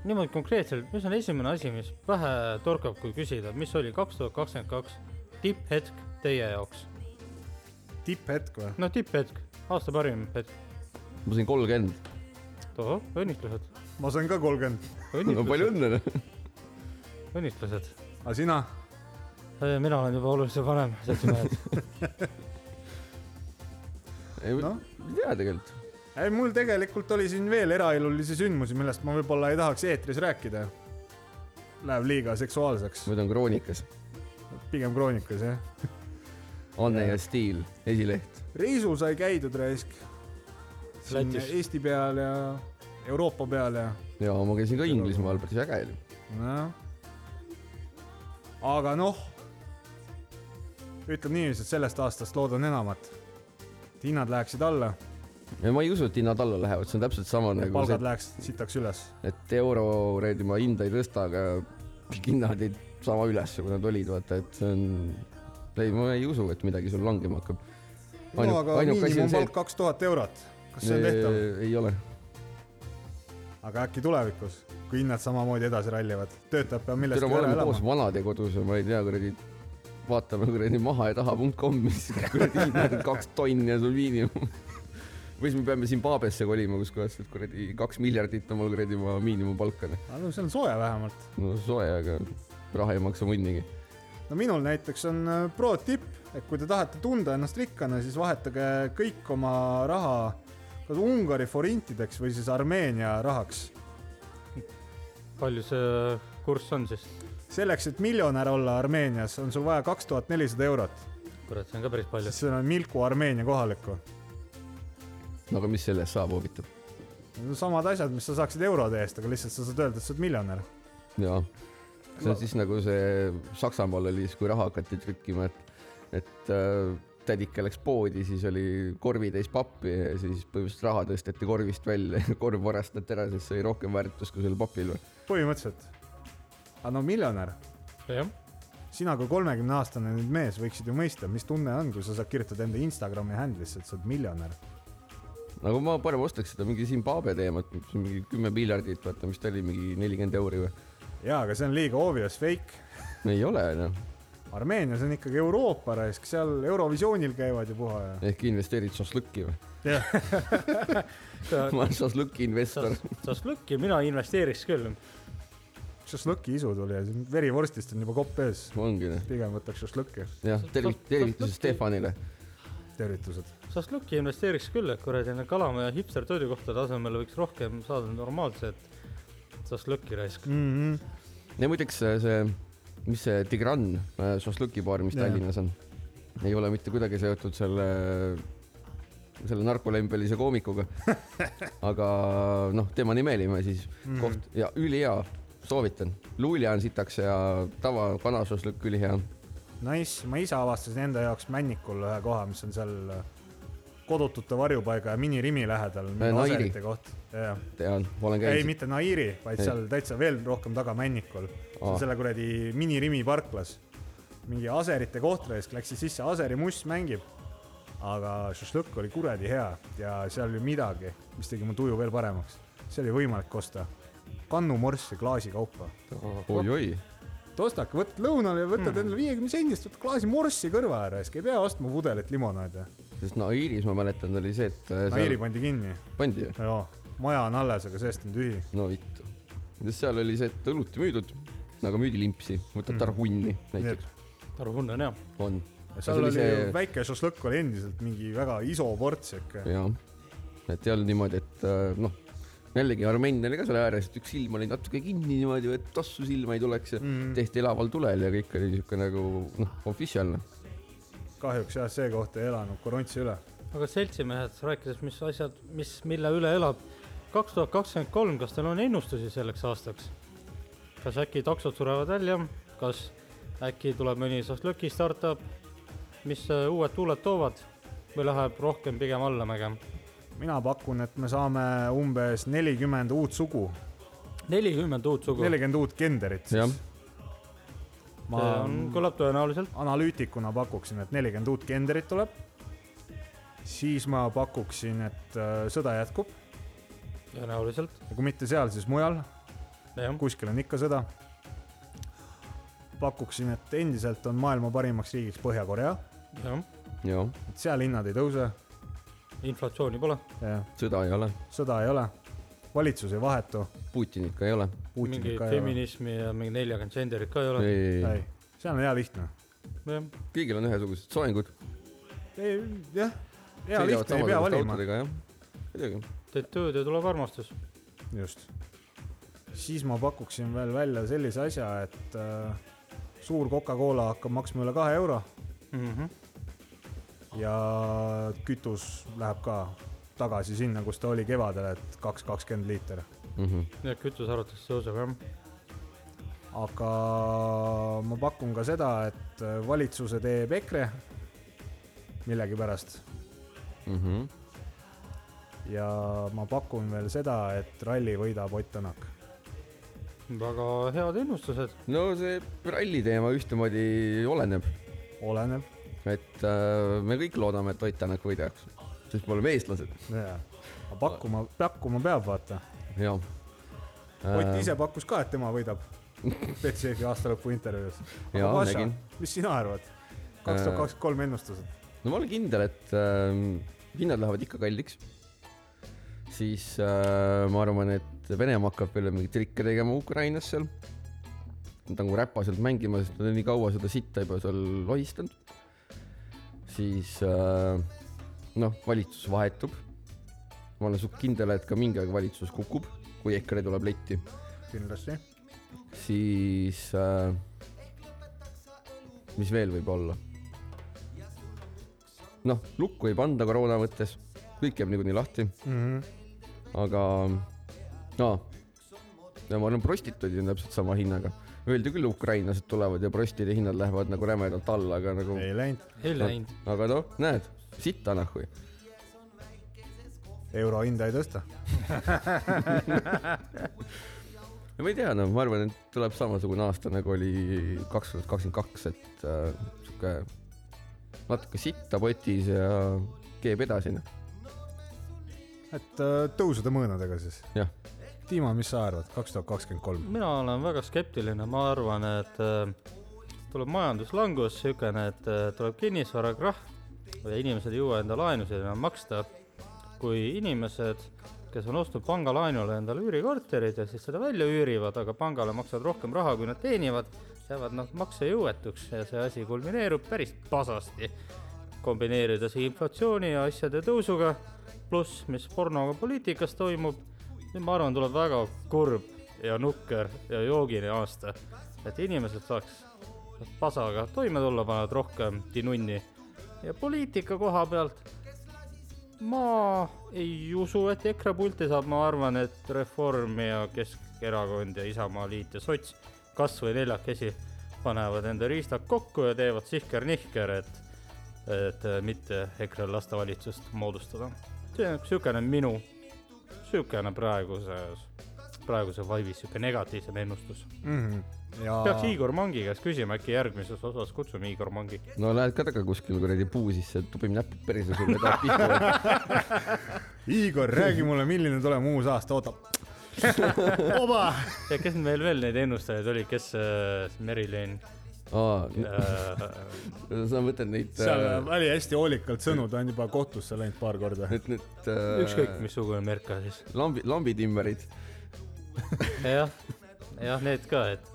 niimoodi konkreetselt , mis on esimene asi , mis pähe torkab , kui küsida , mis oli kaks tuhat kakskümmend kaks tipphetk teie jaoks ? tipphetk või ? no tipphetk , aasta parim hetk . ma sain kolmkümmend . tohoh , õnnitlused , ma sain ka kolmkümmend , no õnnitlused , palju õnne noh . õnnitlused . aga sina ? mina olen juba oluliselt vanem , seltsimehed . ei no. Noh. , ei tea tegelikult . ei , mul tegelikult oli siin veel eraelulisi sündmusi , millest ma võib-olla ei tahaks eetris rääkida . Läheb liiga seksuaalseks , muidu on kroonikas . pigem kroonikas jah . Anne ja Stiil , esileht . reisul sai käidud raisk . Lätis. Eesti peal ja Euroopa peal ja ja ma käisin ka Inglismaal , päris äge oli . nojah . aga noh , ütleme niiviisi , et sellest aastast loodan enamat . et hinnad läheksid alla ja ma ei usu , et hinnad alla lähevad , see on täpselt sama ja nagu palgad see , läheksid sitaks üles . et euro kuradi ma hinda ei tõsta , aga hinnad jäid sama üles , kui nad olid , vaata , et see on , ei , ma ei usu , et midagi sul langema hakkab . no aga miinimumpalk kaks tuhat eurot , kas see on tehtav ? ei ole . aga äkki tulevikus , kui hinnad samamoodi edasi rallivad , töötajad peavad täna millestki me üle oleme koos elama . vanadekodus ja ma ei tea , kuradi , vaatame kuradi maha ja taha.com , mis kuradi hinnad on kaks tonni ja sul miinimum . või siis me peame Zimbabwesse kolima , kus kohas sealt kuradi kaks miljardit on mul kuradi ma miinimumpalk on . aga no seal on soe vähemalt . no soe , aga raha ei maksa mõndagi . no minul näiteks on äh, pro tipp , et kui te tahate tunda ennast rikkana , siis vahetage kõik oma raha kas Ungari forintideks või siis Armeenia rahaks . palju see kurss on siis ? selleks , et miljonär olla Armeenias , on sul vaja kaks tuhat nelisada eurot , kurat , see on ka päris palju . sest seal on Milku Armeenia kohalikku . no aga mis sellest saab huvitav ? Need on samad asjad , mis sa saaksid eurode eest , aga lihtsalt sa saad öelda , et sa oled miljonär . jaa , see on siis nagu see Saksamaal oli siis , kui raha hakati trükkima , et , et äh, tädike läks poodi , siis oli korvitäis pappi ja siis põhimõtteliselt raha tõsteti korvist välja , korv varastati ära , sest see oli rohkem väärtust kui sellel papil . põhimõtteliselt . aga no miljonär , jah , sina kui kolmekümne aastane nüüd mees võiksid ju mõista , mis tunne on , kui sa saad kirjutada enda Instagrami handle'isse , et sa oled miljonär . aga Nagu ma parem ostaks seda mingi Zimbabwe teemat , mingi kümme miljardit , vaata , mis ta oli , mingi nelikümmend euri või ? jaa , aga see on liiga obvious fake . ei ole noh , Armeenias on ikkagi Euroopa raisk , seal Eurovisioonil käivad ja puha ja . ehk investeerid šašlõkki või ? sa ma olen šašlõkki investor . sa lõkki , mina investeeriks küll . šašlõki isu tuli ja siin verivorstist on juba kopp ees . ongi noh , pigem võtaks šašlõkki , jah , tervit- , tervitused Stefanile . tervitused . Šašlõkki investeeriks küll , et kuradi need kalamaja hipster toidukohtade asemel võiks rohkem saada normaalset šašlõkki raisk . Mm ja muideks see, see , mis see Tigran äh, šašlõkibaar , mis Jaa. Tallinnas on , ei ole mitte kuidagi seotud selle , selle narkolembelise koomikuga . aga noh , tema nimelime siis Mhm. mm. koht ja ülihea , soovitan . luulja on sitaks ja tava vana šašlõkk ülihea . -hmm. Nice , ma ise avastasin enda jaoks Männikul ühe koha , mis on seal kodutute varjupaiga ja minirimi lähedal . Nairi. koht , jah tean , olen ei , käinud . mitte Nairi , vaid Ei. ei. seal täitsa veel rohkem taga Männikul . see on Aa. selle kuradi minirimi parklas . mingi aserite kohtraisk läks siis sisse , aseri must mängib . aga šašlõkk oli kuradi hea ja seal oli midagi , mis tegi mu tuju veel paremaks . see oli võimalik osta . kannu morssi klaasikaupa . oi-oi , Tostak , võtad lõunal ja Mhm. võtad endale viiekümne sendist , võtad klaasi morssi kõrva ära , siis ei pea ostma pudelit limonaade . sest Nairis ma mäletan , oli see , et äh, Nairi seal pandi kinni . pandi ju , joo , maja on alles , aga seest on tühi . no vittu . seal oli see , et õlut ei müüdud , aga müüdi limpsi , võtad Mm. tarv hunni näiteks , Tarvun on hea . on . seal oli see... väike šašlõkk oli endiselt mingi väga iso ports ikka . jah , et ei olnud niimoodi , et äh, noh , jällegi Armenia oli ka seal ääres , et üks silm oli natuke kinni niimoodi , et tossu silma ei tuleks ja mm. Mhm. tehti elaval tulel ja kõik oli niisugune nagu noh , officialne . kahjuks jah , see koht ei elanud korontsi üle . aga seltsimehed , rääkides , mis asjad , mis , mille üle elab kaks tuhat kakskümmend kolm , kas teil on ennustusi selleks aastaks ? kas äkki taksod surevad välja , kas äkki tuleb mõni šašlõki startup , mis äh, uued tuuled toovad või läheb rohkem pigem allamäge ? mina pakun , et me saame umbes nelikümmend uut sugu , nelikümmend uut sugu , nelikümmend uut genderit jah siis ., ma mm, see on , kõlab tõenäoliselt , analüütikuna pakuksin , et nelikümmend uut genderit tuleb . siis ma pakuksin , et äh, sõda jätkub tõenäoliselt , ja kui mitte seal , siis mujal , jah . kuskil on ikka sõda . pakuksin , et endiselt on maailma parimaks riigiks Põhja-Korea , jah , jah , et seal hinnad ei tõuse , inflatsiooni pole , sõda ei ole , sõda ei ole , valitsus ei vahetu . Putinit ka ei ole . mingi feminismi ja mingi neljakümmend senderit ka ei ole , ei , seal on hea lihtne . jah , kõigil on ühesugused soengud . jah , hea lihtne , ei pea valima . jah , muidugi . teed tööd ja tuleb armastus , just . siis ma pakuksin veel välja sellise asja , et äh, suur Coca-Cola hakkab maksma üle kahe euro Mhm. ja kütus läheb ka tagasi sinna , kus ta oli kevadel , et kaks kakskümmend liiter . Mhm, nii et kütus arvatakse tõuseb jah aga ma pakun ka seda , et äh, valitsuse teeb EKRE millegipärast mhm. ja ma pakun veel seda , et ralli võidab Ott Tänak . väga head ennustused , no see ralli teema ühtemoodi oleneb , oleneb . et äh, me kõik loodame , et Ott Tänak võidaks , sest me oleme eestlased . aga pakkuma , pakkuma peab , vaata jah . Ott ise pakkus ka , et tema võidab BCF-i aastalõpu intervjuus . Jaa, nägin. mis sina arvad ? kaks tuhat kakskümmend kolm ennustused . no ma olen kindel , et äh, hinnad lähevad ikka kalliks . siis äh, ma arvan , et Venemaa hakkab jälle mingeid trikke tegema Ukrainas seal . Nad on nagu räpaselt mängima , sest nad on nii kaua seda sitta juba seal lohistanud . siis äh, noh , valitsus vahetub . ma olen suht kindel , et ka mingi aeg valitsus kukub , kui EKRE tuleb letti , kindlasti . siis äh, mis veel võib olla ? noh , lukku ei panda koroona mõttes , kõik jääb niikuinii lahti , aga no, ja ma arvan , prostituudid on täpselt sama hinnaga . Öeldi küll , ukrainlased tulevad ja prostide hinnad lähevad nagu rämedalt alla , aga nagu , ei läinud . ei läinud , aga noh , näed , sitta noh, nahhu . euro hinda ei tõsta . no ma ei tea , no ma arvan , et tuleb samasugune aasta nagu oli kaks tuhat kakskümmend kaks , et äh, sihuke natuke sitta potis ja keeb edasi , noh . et äh, tõusude mõõnadega siis . jah , Dima , mis sa arvad , kaks tuhat kakskümmend kolm ? mina olen väga skeptiline , ma arvan , et äh, tuleb majanduslangus , niisugune , et äh, tuleb kinnisvarakrahv ja inimesed ei jõua enda laenusid enam maksta . kui inimesed , kes on ostnud pangalaenule endale üürikorterid ja siis seda välja üürivad , aga pangale maksavad rohkem raha , kui nad teenivad , jäävad nad maksejõuetuks ja see asi kulmineerub päris pasasti . kombineerides inflatsiooni ja asjade tõusuga , pluss mis pornoga poliitikas toimub , nüüd ma arvan , tuleb väga kurb ja nukker ja joogine aasta , et inimesed saaks pasaga toime tulla , panevad rohkem tinunni ja poliitika koha pealt ma ei usu , et EKRE pulti saab , ma arvan , et Reform ja Keskerakond ja Isamaa Liit ja Sots kas või neljakesi panevad enda riistad kokku ja teevad sihker-nihker , et , et mitte EKRE-l lasta valitsust moodustada . see on niisugune minu , niisugune praeguses vist praeguse vibe'is siuke negatiivsem ennustus . mm . -hmm. ja peaks Igor Mangi käest küsima , äkki järgmises osas kutsume Igor Mangi . no lähed ka taga kuskil kuradi puu sisse , tupib näpud perse sulle , tahab pihku . Igor , räägi mulle , milline tuleb uus aasta , oota . oba . ja kes meil veel neid ennustajaid oli , kes äh, , Merilin aa , äh, , sa mõtled neid , äh, seal oli hästi hoolikalt sõnu , ta on juba kohtusse läinud paar korda . need , need . ükskõik . missugune Merka siis . lambi , lambitimmerid . jah , jah , need ka , et ,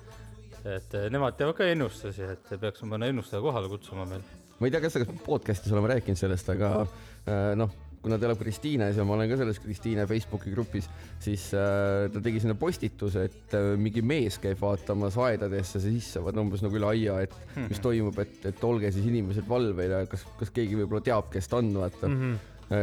et äh, nemad teevad ka ennustusi , et peaks mõne ennustaja kohale kutsuma meil . ma ei tea , kas , kas me podcast'is oleme rääkinud sellest , aga äh, noh , kuna ta elab Kristiines ja ma olen ka selles Kristiine Facebooki grupis , siis äh, ta tegi sinna postituse , et äh, mingi mees käib vaatamas aedadesse sisse , vaata umbes nagu üle aia , et mis toimub , et , et olge siis inimesed valvel ja kas , kas keegi võib-olla teab , kes ta on , vaata mm . -hmm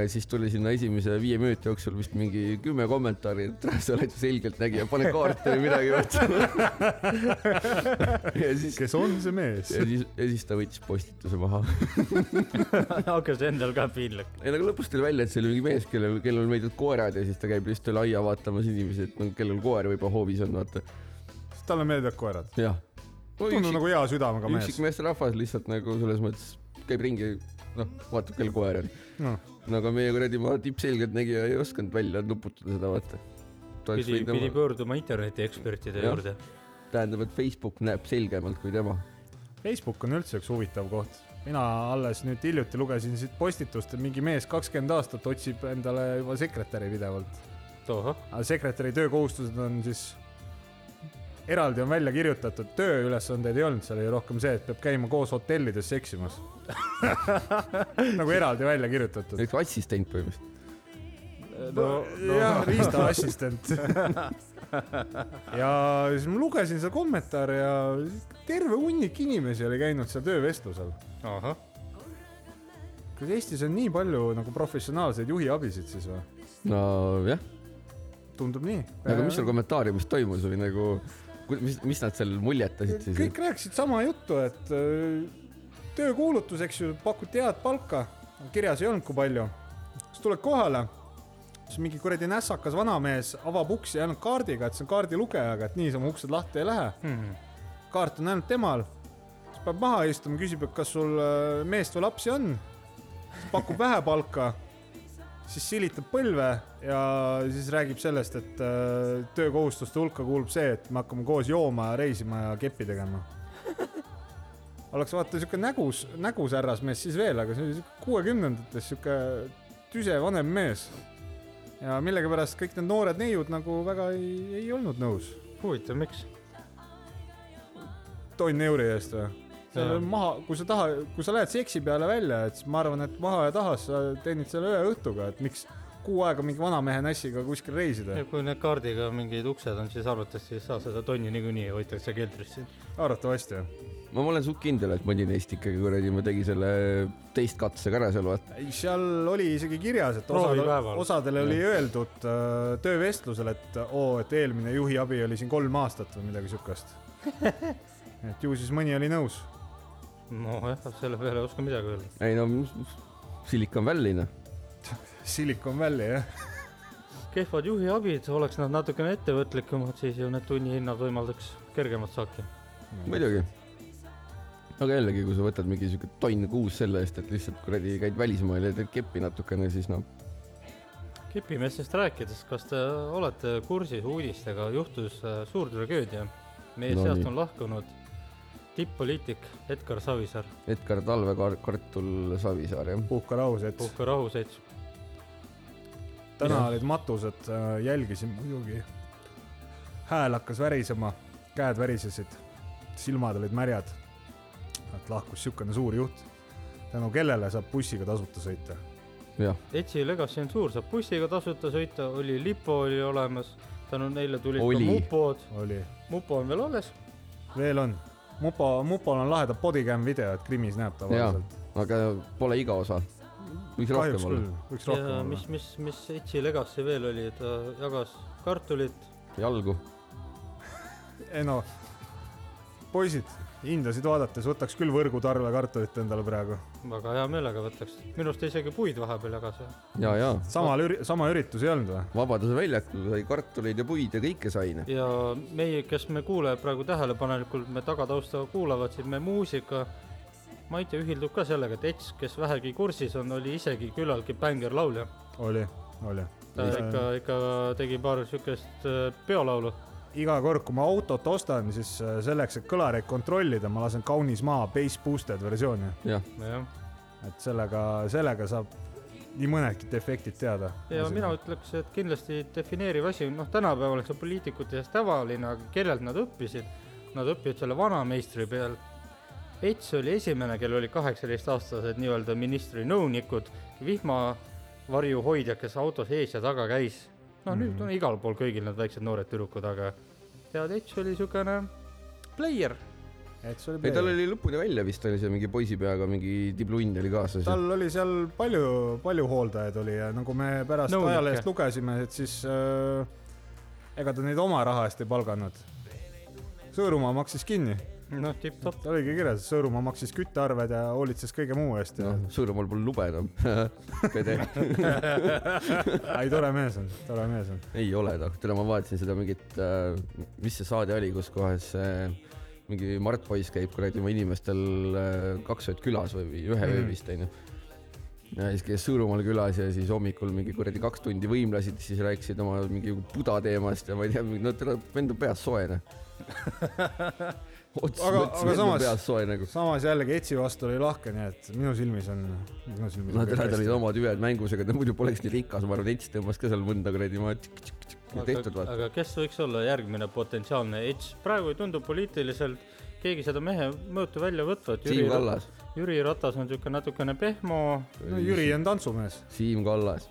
siis tuli sinna esimese viie minuti jooksul vist mingi kümme kommentaari , et sa oled ju selgeltnägija , pane kaarte või midagi . ja siis , kes on see mees ? ja siis , ja siis ta võttis postituse maha hakkas endal ka piinlik . ei , aga lõpus tuli välja , et see oli mingi mees , kellel , kellel on meeldivad koerad ja siis ta käib lihtsalt üle aia vaatamas inimesi , et no kellel koer võib-olla hoovis on , vaata . talle meeldivad koerad . jah . tundub üksik , nagu hea südamega mees üksik . meesterahvas lihtsalt nagu selles mõttes käib ringi , noh , vaatab , kellel koer on . Noh, no aga meie kuradi , ma tippselgeltnägija ei osanud välja nuputada seda , vaata . pidi , pidi pöörduma internetiekspertide Jah. juurde . tähendab , et Facebook näeb selgemalt kui tema . Facebook on üldse üks huvitav koht . mina alles nüüd hiljuti lugesin siit postitust , et mingi mees kakskümmend aastat otsib endale juba sekretäri pidevalt . tohoh , aga sekretäri töökohustused on siis , eraldi on välja kirjutatud , tööülesandeid ei olnud , seal oli rohkem see , et peab käima koos hotellides seksimas . nagu eraldi välja kirjutatud . näiteks assistent põhimõtteliselt . no, no. jah , riistaassistent . ja siis ma lugesin seda kommentaari ja terve hunnik inimesi oli käinud seal töövestlusel . ahah , kas Eestis on nii palju nagu professionaalseid juhiabisid siis või ? nojah , tundub nii . aga Nagu mis Äh. seal kommentaariumis toimus või nagu , mis , mis nad seal muljetasid siis ? kõik rääkisid sama juttu , et öö, töökuulutus , eks ju , pakuti head palka , kirjas ei olnud , kui palju . siis tuled kohale , siis mingi kuradi nässakas vanamees avab uksi ainult kaardiga , et see on kaardilugejaga , et niisama uksed lahti ei lähe Mhm. hmm. . kaart on ainult temal , siis peab maha istuma , küsib , et kas sul öö, meest või lapsi on , pakub vähe palka siis silitab põlve ja siis räägib sellest , et öö, töökohustuste hulka kuulub see , et me hakkame koos jooma ja reisima ja keppi tegema . oleks vaata siuke nägus , nägus härras mees siis veel , aga see oli siuke kuuekümnendates siuke tüse vanem mees . ja millegipärast kõik need noored neiud nagu väga ei , ei olnud nõus . huvitav , miks ? tonn euri eest või ? seal Jaa. on maha , kui sa taha , kui sa lähed seksi peale välja , et siis ma arvan , et maha ja taha sa teenid selle ühe õhtuga , et miks kuu aega mingi vanamehe nässiga kuskil reisida ja . kui need kaardiga mingid uksed on , siis arvatavasti ei saa seda tonni niikuinii , hoitakse keldris siin . arvatavasti jah . no ma olen suht kindel , et mõni neist ikkagi kuradi , ma tegin selle teist katse ka ära seal vaata . ei , seal oli isegi kirjas , et osadele, Proovipäeval. osadele oli öeldud äh, töövestlusel , et oo , et eelmine juhiabi oli siin kolm aastat või midagi siukest . et ju siis mõni oli nõus . nojah , selle peale ei oska midagi öelda . ei no , Silicon noh, Valley'na . Silicon Valley jah . kehvad juhiabid , oleks nad natukene ettevõtlikumad , siis ju need tunnihinnad võimaldaks kergemat saaki . muidugi . aga jällegi , kui sa võtad mingi siuke tonn kuus selle eest , et lihtsalt kuradi käid välismaal ja teed keppi natukene , siis noh , kepimeestest rääkides , kas te olete kursis uudistega , juhtus äh, suur tragöödia . meie no, No seast nii. on lahkunud tipp-poliitik Edgar Savisaar , Edgar Talve kar- , Kartul Savisaar jah . puhka rahus , et puhka rahu , selts . täna olid matused , jälgisin muidugi . hääl hakkas värisema , käed värisesid , silmad olid märjad . et lahkus siukene suur juht , tänu kellele saab bussiga tasuta sõita . jah , Etsi Legacy on suur , saab bussiga tasuta sõita , oli lipo oli olemas , tänu neile tulid Oli. oli. ka mupod , oli , mupo on veel alles . veel on . Mupo , Mupol on lahedad bodycam videod , Krimis näeb jaa tavaliselt ., aga pole iga osa . võiks kahjuks rohkem küll olla ., võiks rohkem ja olla mis , mis , mis Etsi Legacy veel oli , ta jagas kartulit jalgu . ei no , Eh, poisid , hindasid vaadates võtaks küll võrgutarve kartulit endale praegu . väga hea meelega võtaks , minu arust isegi puid vahepeal jagas . ja , ja sama , sama üritus ei olnud või ? Vabaduse väljakul sai kartuleid ja puid ja kõike sai . ja meie , kes me kuulajad praegu tähelepanelikult me tagatausta kuulavad , siis me muusika , ma ei tea , ühildub ka sellega , et Ets , kes vähegi kursis on , oli isegi küllaltki bängerlaulja . oli , oli . ta ikka , ikka tegi paar siukest äh, peolaulu . iga kord , kui ma autot ostan , siis äh, selleks , et kõlareid kontrollida , ma lasen kaunis maa bass boosted versiooni , jah , jah , et sellega , sellega saab nii mõnedki defektid teada . ja mina . ütleks , et kindlasti defineeriv asi , noh , tänapäeval on see poliitikute seas tavaline , aga kellelt nad õppisid , nad õppisid selle vanameistri peal . Ets oli esimene , kellel oli kaheksateistaastased nii-öelda ministri nõunikud , vihmavarjuhoidjad , kes autos ees ja taga käis . no nüüd on igal pool kõigil need väiksed noored tüdrukud , aga tead , Ets oli niisugune player . et see ei oli tal . oli lõpuni välja vist oli see mingi poisipeaga mingi diblund oli kaasas . tal oli seal palju , palju hooldajaid oli ja nagu me pärast Nõunikke. ajalehest lugesime , et siis äh, ega ta neid oma raha eest ei palganud . Sõõrumaa maksis kinni , noh , tipp-topp . ta oligi kirjas , Sõõrumaa maksis küttearved ja hoolitses kõige muu eest ja noh , Sõõrumaal pole lube enam . pede , ei tore mees on , tore mees on . ei ole ta , täna ma vaatasin seda mingit äh, , mis see saade oli , kus kohas äh, mingi Mart Poiss käib kuradi oma inimestel äh, kaks ööd külas või või ühe öö Mhm. vist onju . ja siis käis Sõõrumaal külas ja siis hommikul mingi kuradi kaks tundi võimlesid , siis rääkisid oma mingi Buda teemast ja ma ei tea , no tal on vend on peas soe noh . otse Aga- mõttes aga vend on samas- peas soe nagu . samas jällegi Etsi vastu oli lahke , nii et minu silmis on , minu silmis Nad nad olid . omad hüved mängus , ega ta muidu poleks nii rikas , ma arvan , Ets tõmbas ka seal mõnda kuradi maha tšik-tšik-tšik ja tehtud aga, vaata . aga kes võiks olla järgmine potentsiaalne edž ? praegu ei tundu poliitiliselt keegi seda mehe mõõtu välja võtvat . Siim Kallas , Jüri Ratas on niisugune natukene pehmo , no Jüri on tantsumees . Siim Kallas ,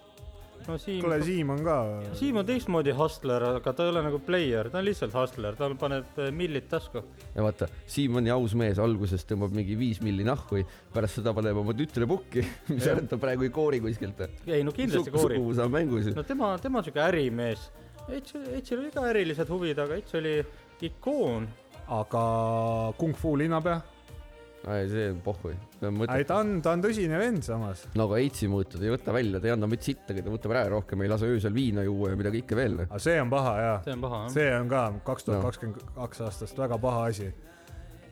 no Siim kuule ,, Siim on ka . Siim on teistmoodi hustler , aga ta ei ole nagu player , ta on lihtsalt hustler , ta paneb äh, millid tasku . ja vaata , Siim on nii aus mees , alguses tõmbab mingi viis milli nahku , pärast seda paneb oma tütre pukki , mis arvab , et ta praegu ei koori kuskilt . ei no kindlasti koorib . suguvõsa on mängus ju . no tema , tema on niisugune ärimees . Ets , Etsil oli ka ärilised huvid , aga Ets oli ikoon . aga Kung Fu linnapea ? ei , see on pohhui . ei , ta on , ta on tõsine vend samas . no aga Eitsi mõõtu ta ei võta välja , ta ei anna mitte sittagi , ta võtab ära rohkem , ei lase öösel viina juua ja midagi ikka veel . aga see on paha jaa . see on paha , jah ? see on ka kaks tuhat kakskümmend kaks aastast väga paha asi .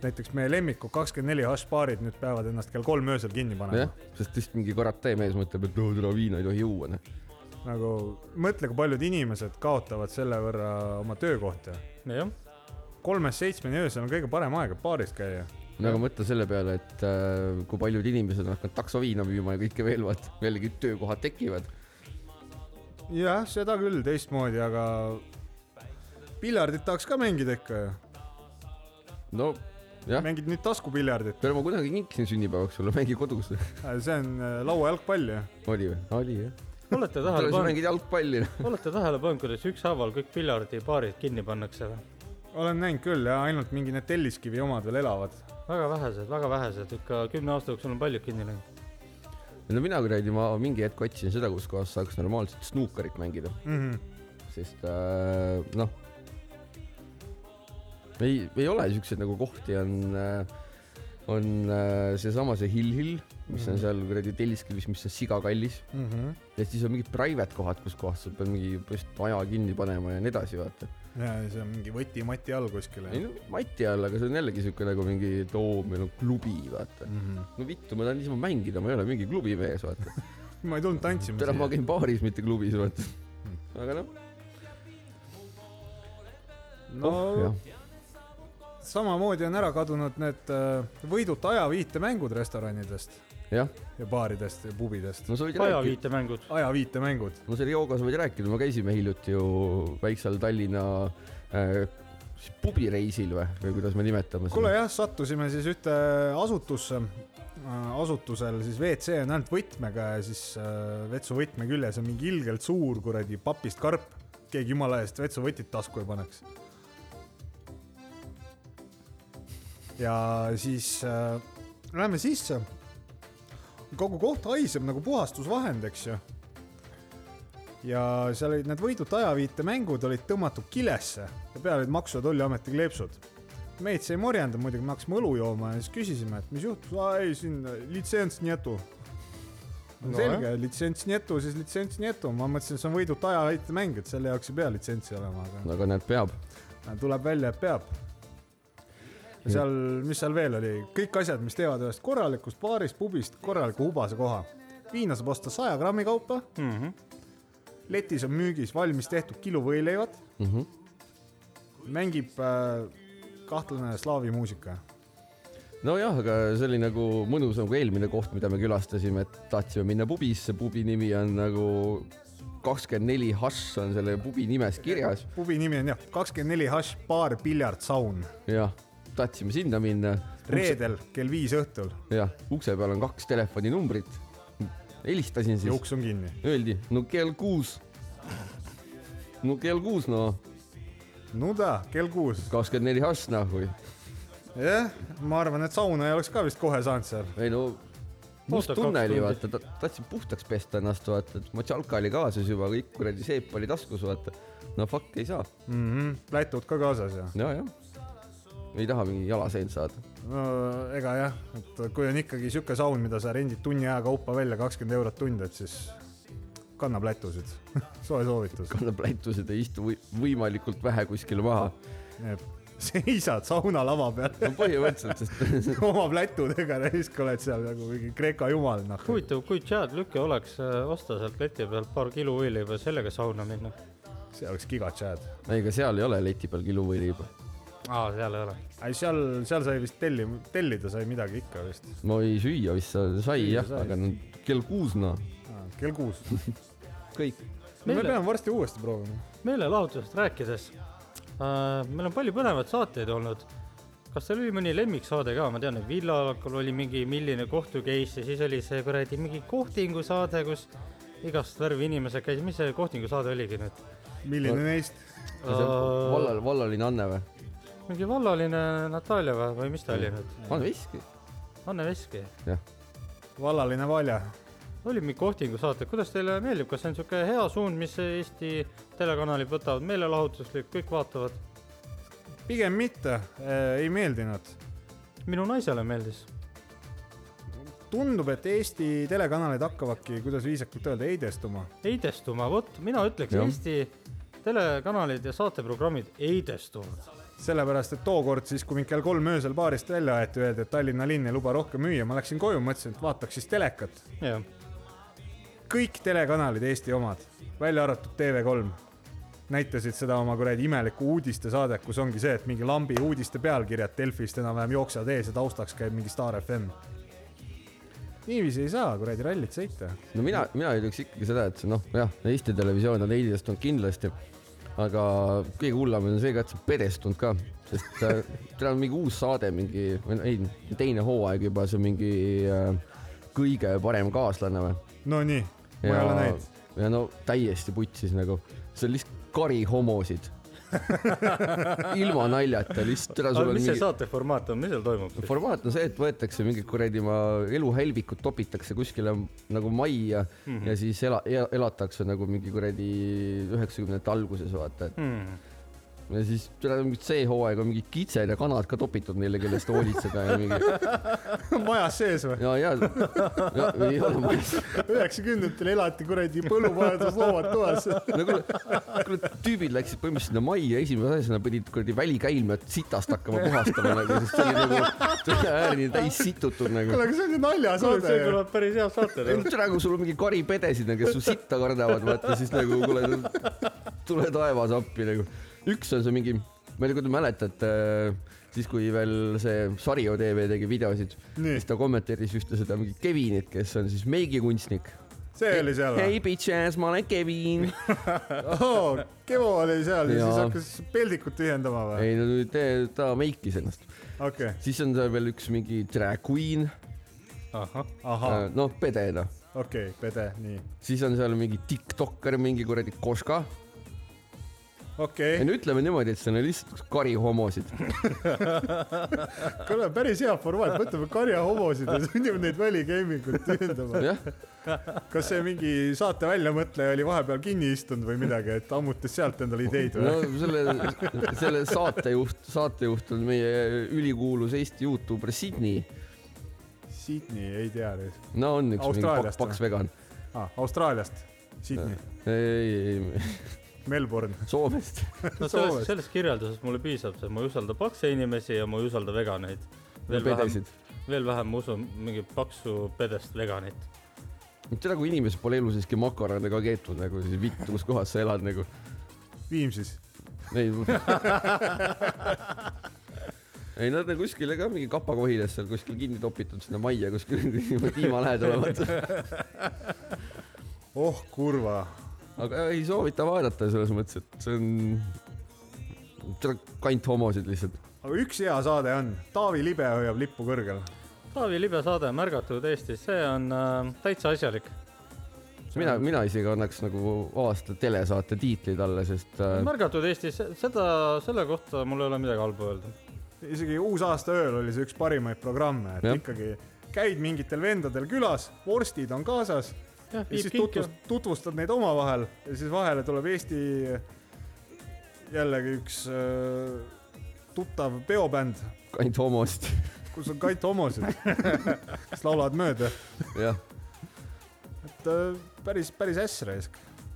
näiteks meie lemmikud kakskümmend neli hašpaarid nüüd peavad ennast kell kolm öösel kinni panema jah ., sest lihtsalt mingi karate mees mõtleb , et no täna viina ei tohi juua . noh. nagu mõtle , kui paljud inimesed kaotavad selle võrra oma töökohta . jah , kolmest seitsmeni öösel on kõige parem aeg , et baaris käia . no aga mõtle selle peale , et äh, kui paljud inimesed on hakanud taksoviina müüma ja kõike veel , vaat jällegi töökohad tekivad . jah , seda küll teistmoodi , aga piljardit tahaks ka mängida ikka ju . no jah , mängid nüüd taskupiljardit , peale ma kunagi kinkisin sünnipäevaks sulle , mängi kodus . see on äh, lauajalgpall ju . oli või ? oli jah . olete tähele sa pannud , mängid jalgpalli . noh. olete tähele pannud , kuidas ükshaaval kõik piljardipaarid kinni pannakse või ? olen näinud küll ja ainult mingi need telliskivi omad veel elavad . väga vähesed , väga vähesed , ikka kümne aasta jooksul on paljud kinni läinud . no mina kuradi , ma mingi hetk otsisin seda , kus kohas saaks normaalselt snuukarit mängida , sest äh, noh , ei , ei ole siukseid nagu kohti on äh, on äh, seesama see Hill Hill , mis on seal kuradi telliskivis , mis on sigakallis . ja siis on mingid private kohad , kus kohas sa pead mingi põhimõtteliselt aja kinni panema ja nii edasi , vaata . ja see on mingi võti-mati all kuskil ei ju . no mati all , aga see on jällegi siuke nagu mingi , et oo , meil on klubi , vaata . Mhm. no vittu , ma tahan niisama mängida , ma ei ole mingi klubimees , vaata . ma ei tulnud tantsima täna ma siia . käin baaris , mitte klubis , vaata . Hmm. aga noh , no Oh, jah , samamoodi on ära kadunud need äh, võiduta ajaviitemängud restoranidest jah , ja baaridest ja pubidest . no sa võid rääkida , ajaviitemängud , ajaviitemängud , no selle jooga sa võid rääkida , me käisime hiljuti ju väiksel Tallinna äh, siis pubireisil või , või kuidas me nimetame kuule . jah , sattusime siis ühte asutusse , asutusel siis WC on ainult võtmega ja siis äh, vetsuvõtme küljes on mingi ilgelt suur kuradi papist karp , keegi jumala eest vetsuvõtit tasku ei paneks . ja siis äh, läheme sisse , kogu koht haiseb nagu puhastusvahend , eks ju ja seal olid need võidud ajaviite mängud olid tõmmatud kilesse ja peal olid Maksu- ja Tolliameti kleepsud . meid see ei morjendanud muidugi , me hakkasime õlu jooma ja siis küsisime , et mis juhtus , aa ei siin litsents netu . No No, selge , litsents netu , siis litsents netu , ma mõtlesin , et see on võidutu ajahäitemäng , et selle jaoks ei pea litsentsi olema , aga aga näed , peab . tuleb välja , et peab . seal , mis seal veel oli , kõik asjad , mis teevad ühest korralikust baarist , pubist korraliku hubase koha . viina saab osta saja grammi kaupa , mm . -hmm. letis on müügis valmis tehtud kilu võileivad , Mhm. mängib äh, kahtlane slaavi muusika . nojah , aga see oli nagu mõnusam kui eelmine koht , mida me külastasime , et tahtsime minna pubisse , pubi nimi on nagu kakskümmend neli hašš on selle pubi nimes kirjas . pubi nimi on jah , kakskümmend neli hash baar Piljard Saun , jah , tahtsime sinna minna . reedel kell viis õhtul jah , ukse peal on kaks telefoninumbrit . helistasin ja siis , uks on kinni . öeldi no kell kuus . no kell kuus , no no ta , kell kuus . kakskümmend neli noh, hašš nahhu . jah , ma arvan , et sauna ei oleks ka vist kohe saanud seal . ei no , must Oota, kaks tunne oli tundi. vaata , tahtsin puhtaks pesta ennast vaata , et matšalka oli kaasas juba , kõik kuradi seep oli taskus vaata . no fuck ei saa Mhm, plätud ka kaasas ja . jajah , ei taha mingi jalaseent saada . no ega jah , et kui on ikkagi sihuke saun , mida sa rendid tunni aja kaupa välja kakskümmend eurot tund , et siis kanna plätusid . soe soovitus . kannab lätused , ei istu või, võimalikult vähe kuskile maha . seisad sauna lava peal no põhimõtteliselt , sest oma plätudega raisk oled seal nagu mingi Kreeka jumal noh . huvitav , kui Chad Lüke oleks äh, osta sealt leti pealt paar kilo õliva ja sellega sauna minna . see oleks gigatšad . ei , ega seal ei ole leti peal kiluvõileiba . aa , seal ei ole . ei seal , seal sai vist telli , tellida sai midagi ikka vist . no ei süüa vist sai, sai Süüa jah , sai. aga no kell kuus noh. no Ah, kell kuus . kõik . me Meile- peame varsti uuesti proovima . meelelahutusest rääkides äh, , meil on palju põnevaid saateid olnud . kas teil oli mõni lemmiksaade ka , ma tean , et Villakul oli mingi milline kohtu case ja siis oli see kuradi mingi kohtingu saade , kus igast värvi inimesed käisid , mis see kohtingu saade oligi nüüd ? milline Ma- neist ? Äh, vallal , vallaline Anne või ? mingi vallaline Natalja või , või mis ta oli nüüd ? Anne Veski , Anne Veski , jah . vallaline Valja . oli mingi kohtingu saate , kuidas teile meeldib , kas see on niisugune hea suund , mis Eesti telekanalid võtavad , meelelahutuslik , kõik vaatavad ? pigem mitte , ei meeldinud . minu naisele meeldis . tundub , et Eesti telekanalid hakkavadki , kuidas viisakalt öelda , heidestuma . heidestuma , vot mina ütleks Jah. Eesti telekanalid ja saateprogrammid heidestuvad . sellepärast , et tookord siis , kui mind kell kolm öösel baarist välja aeti , öeldi , et Tallinna linn ei luba rohkem müüa , ma läksin koju , mõtlesin , et vaataks siis telekat . jah , kõik telekanalid Eesti omad , välja arvatud TV3 , näitasid seda oma kuradi imelikku uudistesaadet , kus ongi see , et mingi lambi uudiste pealkirjad Delfist enam-vähem jooksevad ees ja taustaks käib mingi Star FM . niiviisi ei saa kuradi rallit sõita . no mina , mina ütleks ikkagi seda , et see, noh , jah , Eesti televisioon on heidistunud kindlasti , aga kõige hullem on see ka , et see on pedestunud ka , sest äh, tal on mingi uus saade , mingi , ei , teine hooaeg juba , see on mingi äh, kõige parem kaaslane või ? Nonii , ma ei ole näinud .. ja no täiesti putsis nagu , see on lihtsalt kari homosid . ilma naljata lihtsalt . aga mis see saate formaat on , mis seal toimub siis ? formaat on see , et võetakse mingid kuradi ma eluhelvikud topitakse kuskile nagu majja mm -hmm. ja siis ela, el, elatakse nagu mingi kuradi üheksakümnendate alguses vaata , et Hmm. ja siis tuleb mingi see hooaeg on mingid kitsed ja kanad ka topitud neile , kellest hoolitseda ja mingi majas sees või ? ja , ja, ja ei ole mõistlik . üheksakümnendatel elati kuradi põllumajandus loomad toas . no kuule , kuule tüübid läksid põhimõtteliselt sinna majja , esimese asjana pidid kuradi välikäilmed sitast hakkama puhastama nagu , sest see oli nagu , see oli äärni täis situtud nagu kuule , aga see on ju kuule , see naljasaade . tuleb päris hea saate noh. ei no . tere , kui sul on mingi kari pedesid , kes su sitta kardavad , vaata siis nagu kuule , tule taevas appi nagu . üks on see mingi , ma ei tea , kui te mäletate , siis kui veel see Sario tv tegi videosid , Nii. siis ta kommenteeris ühte seda mingit Kevinit , kes on siis meigikunstnik . see oli seal või hei , bitches , ma olen Kevin . oh, ? Kevo oli seal ja siis Jaa. hakkas peldikut tühjendama või ? ei no nüüd te- ta meikis ennast . okei , siis on seal veel üks mingi drag queen , ahah , ahah , noh , pedena . okei , pede , nii siis on seal mingi tiktokker , mingi kuradi Koška . okei ja no ütleme niimoodi , et see on lihtsalt üks kari homosid . okay. , kuule päris hea formaat , võtame karjahomosid ja sunnime neid väligeimikut tühjendama . jah , kas see mingi saate väljamõtleja oli vahepeal kinni istunud või midagi , et ammutas sealt endale ideid no või ? selle , selle saatejuht , saatejuht on meie ülikuulus Eesti Youtuber Signe . Sydney , ei tea nüüd no on üks mingi Austraaliast paks, paks vegan . ah, . Austraaliast , Sydney , ei , ei , Melbourne . Soomest . no sellest , sellest kirjeldusest mulle piisab , sest ma ei usalda pakse inimesi ja ma ei usalda veganeid . veel vähem , pedesid . veel vähem ma usun mingit paksu pedest veganit . tead , kui inimesed pole elu siiski makarone ka keetnud nagu , siis vitt , kus kohas sa elad nagu . Viimsis . ei , ei nad on kuskile ka mingi kapakohides seal kuskil kinni topitud sinna majja kuskil tiima lähedal olevat . oh kurva . aga ei soovita vaadata selles mõttes , et see on , kant homosid lihtsalt . aga üks hea saade on , Taavi Libe hoiab lippu kõrgel . Taavi Libe saade on märgatud Eestis , see on äh, täitsa asjalik . mina , mina isegi annaks nagu aasta telesaate tiitli talle , sest äh, märgatud Eestis , seda , selle kohta mul ei ole midagi halba öelda . isegi uusaastaööl oli see üks parimaid programme , et Jah. ja. ikkagi käid mingitel vendadel külas , vorstid on kaasas jah , ja siis tutvust, tutvustad neid omavahel ja siis vahele tuleb Eesti jällegi üks äh, tuttav peobänd , kant homosid , kus on kait homosid , kes laulavad mööda , jah . et äh, päris , päris äsra ees .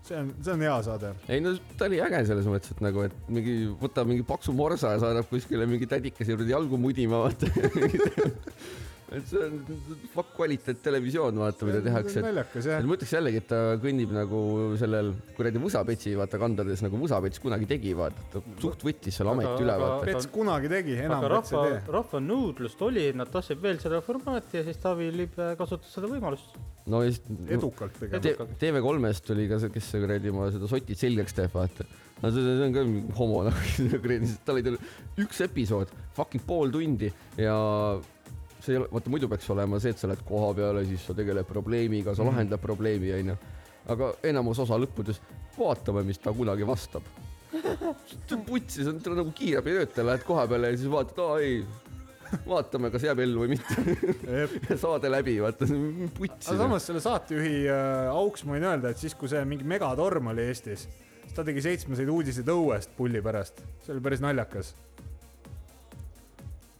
see on , see on hea saade . ei no ta oli äge selles mõttes , et nagu , et mingi võtab mingi paksu morsa ja saadab kuskile mingi tädikese juurde jalgu mudima , vaata . et see on fuck kvaliteet televisioon , vaata , mida tehakse . naljakas jah et . ma ütleks jällegi , et ta kõnnib nagu sellel kuradi Võsapetsi vaata kandades nagu Võsapets kunagi tegi , vaata , ta suht võttis selle ameti Aga- üle , aga- vaata . Pets kunagi tegi , enam aga Pets rahva ei tee ., rahva nõudlust oli , nad tahtsid veel seda formaati ja siis Taavi Libe kasutas seda võimalust . no ja siis edukalt tegelikult . Te- TV3-st tuli ka see , kes see kuradi oma seda sotid selgeks teeb , vaata . no see, see on ka mingi homo nagu , tal oli tal üks episood , fucking pool tundi ja see ei ole , vaata muidu peaks olema see , et sa lähed koha peale , siis sa tegeled probleemiga , sa lahendad probleemi , onju . aga enamus osa lõppudes vaatame , mis ta kunagi vastab . see on putsi , see on tal nagu kiirabitöötaja , lähed koha peale ja siis vaatad , aa ei , vaatame , kas jääb ellu või mitte . aga saade läbi , vaata , see on putsi . samas selle saatejuhi äh, auks ma võin öelda , et siis , kui see mingi megatorm oli Eestis , siis ta tegi seitsmeseid uudiseid õuest pulli pärast , see oli päris naljakas .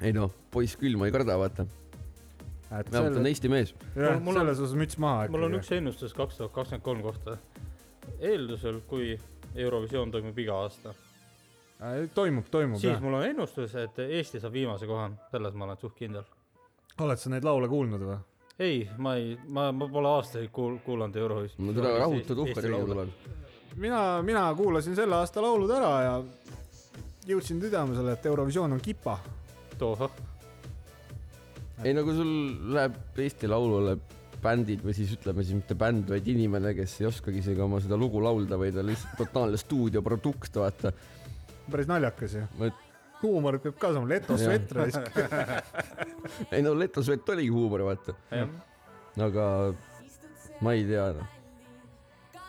ei noh , poiss külma ei karda , vaata . et vähemalt on selle , Eesti mees . jah , mul on- selles osas müts maha mul on ikkagi . üks ennustus kaks tuhat kakskümmend kolm kohta . eeldusel , kui Eurovisioon toimub iga aasta , Äh, toimub , toimub siis jah . mul on ennustus , et Eesti saab viimase koha , selles ma olen suht kindel . oled sa neid laule kuulnud või ? ei , ma ei , ma , ma pole aastaid kuul- , kuulanud Eurovisiooni . no teda rahutud uhkad riigid . tuleb . mina , mina kuulasin selle aasta laulud ära ja jõudsin tõdemusele , et Eurovisioon on kipa . tohoh , ei no kui sul läheb Eesti Laulule bändid või siis ütleme siis mitte bänd , vaid inimene , kes ei oskagi isegi oma seda lugu laulda , vaid on lihtsalt totaalne stuudioprodukt , vaata . päris naljakas ju . ma , et huumor peab ka saama , Leto Jah. Svetra siis ei no Leto Svett oligi huumor , vaata . jah . aga ma ei tea noh .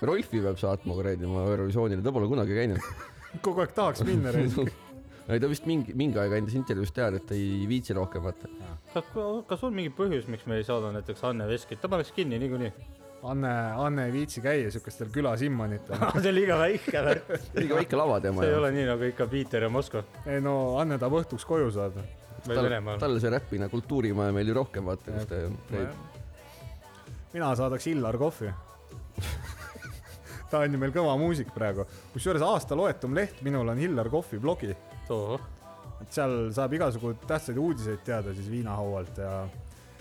Rolfi peab saatma kuradi oma Eurovisioonile , ta pole kunagi käinud . kogu aeg tahaks minna . ei ta vist mingi , mingi aeg andis intervjuus teada , et ta ei viitsi rohkem vaata . kas , kas on mingi põhjus , miks me ei saada näiteks Anne Veskit , ta paneks kinni niikuinii . Anne , Anne ei viitsi käia siukestel külasimmanitel . Ah, see on liiga väike värk , liiga väike lava tema see ei . ole nii nagu ikka Piiter ja Moskva ei no Anne tahab õhtuks koju saada . või Venemaal . talle see räpina kultuurimaja meeldib rohkem , vaata , kus ta käib . mina saadaks Illar kohvi . ta on ju meil kõva muusik praegu , kusjuures aasta loetum leht minul on Illar kohvi blogi , tohoh , et seal saab igasugu tähtsaid uudiseid teada siis viinahaualt ja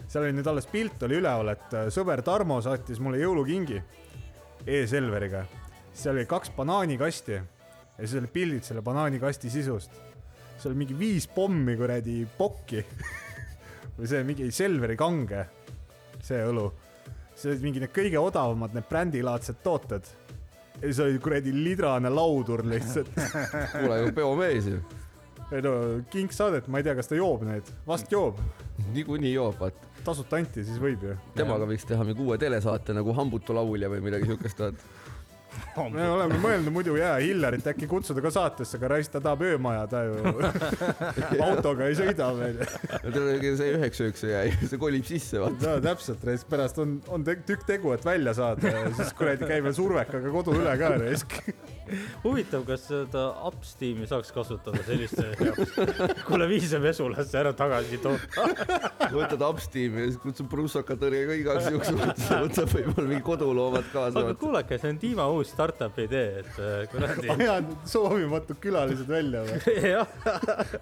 seal oli nüüd alles pilt oli üleval , et äh, sõber Tarmo saatis mulle jõulukingi e-Selveriga , seal oli kaks banaanikasti ja siis olid pildid selle banaanikasti sisust . seal oli mingi viis pommi kuradi pokki või see mingi Selveri kange , see õlu . see olid mingi need kõige odavamad , need brändilaadsed tooted . ja siis oli kuradi lidrane laudur lihtsalt . kuule , aga peomees ju , ei no kingsaadet , ma ei tea , kas ta joob neid , vast joob , niikuinii joob , vaata . tasuta anti , siis võib ju . temaga võiks teha mingi uue telesaate nagu Hambutu laulja või midagi siukest , vaata . me oleme mõelnud muidu jaa , Hillerit äkki kutsuda ka saatesse , aga raisk ta tahab öömaja , ta ju autoga ei sõida veel . see üheks ööks ei jää , see kolib sisse , vaata . no täpselt , raisk pärast on , on te- tükk tegu , et välja saada ja siis kuradi käib veel survekaga kodu üle ka raisk . huvitav , kas seda upsteam'i saaks kasutada selliste jaoks ? kuule , vii see mesulasse ära tagasi too . võtad upsteam'i ja siis kutsud prussakatõrjega igaks juhuks , võtad võib-olla mingi koduloomad kaasa aga . kuulake , see on Dima uus startup idee , et äh, kuradi . ajad soovimatud külalised välja või ? jah ,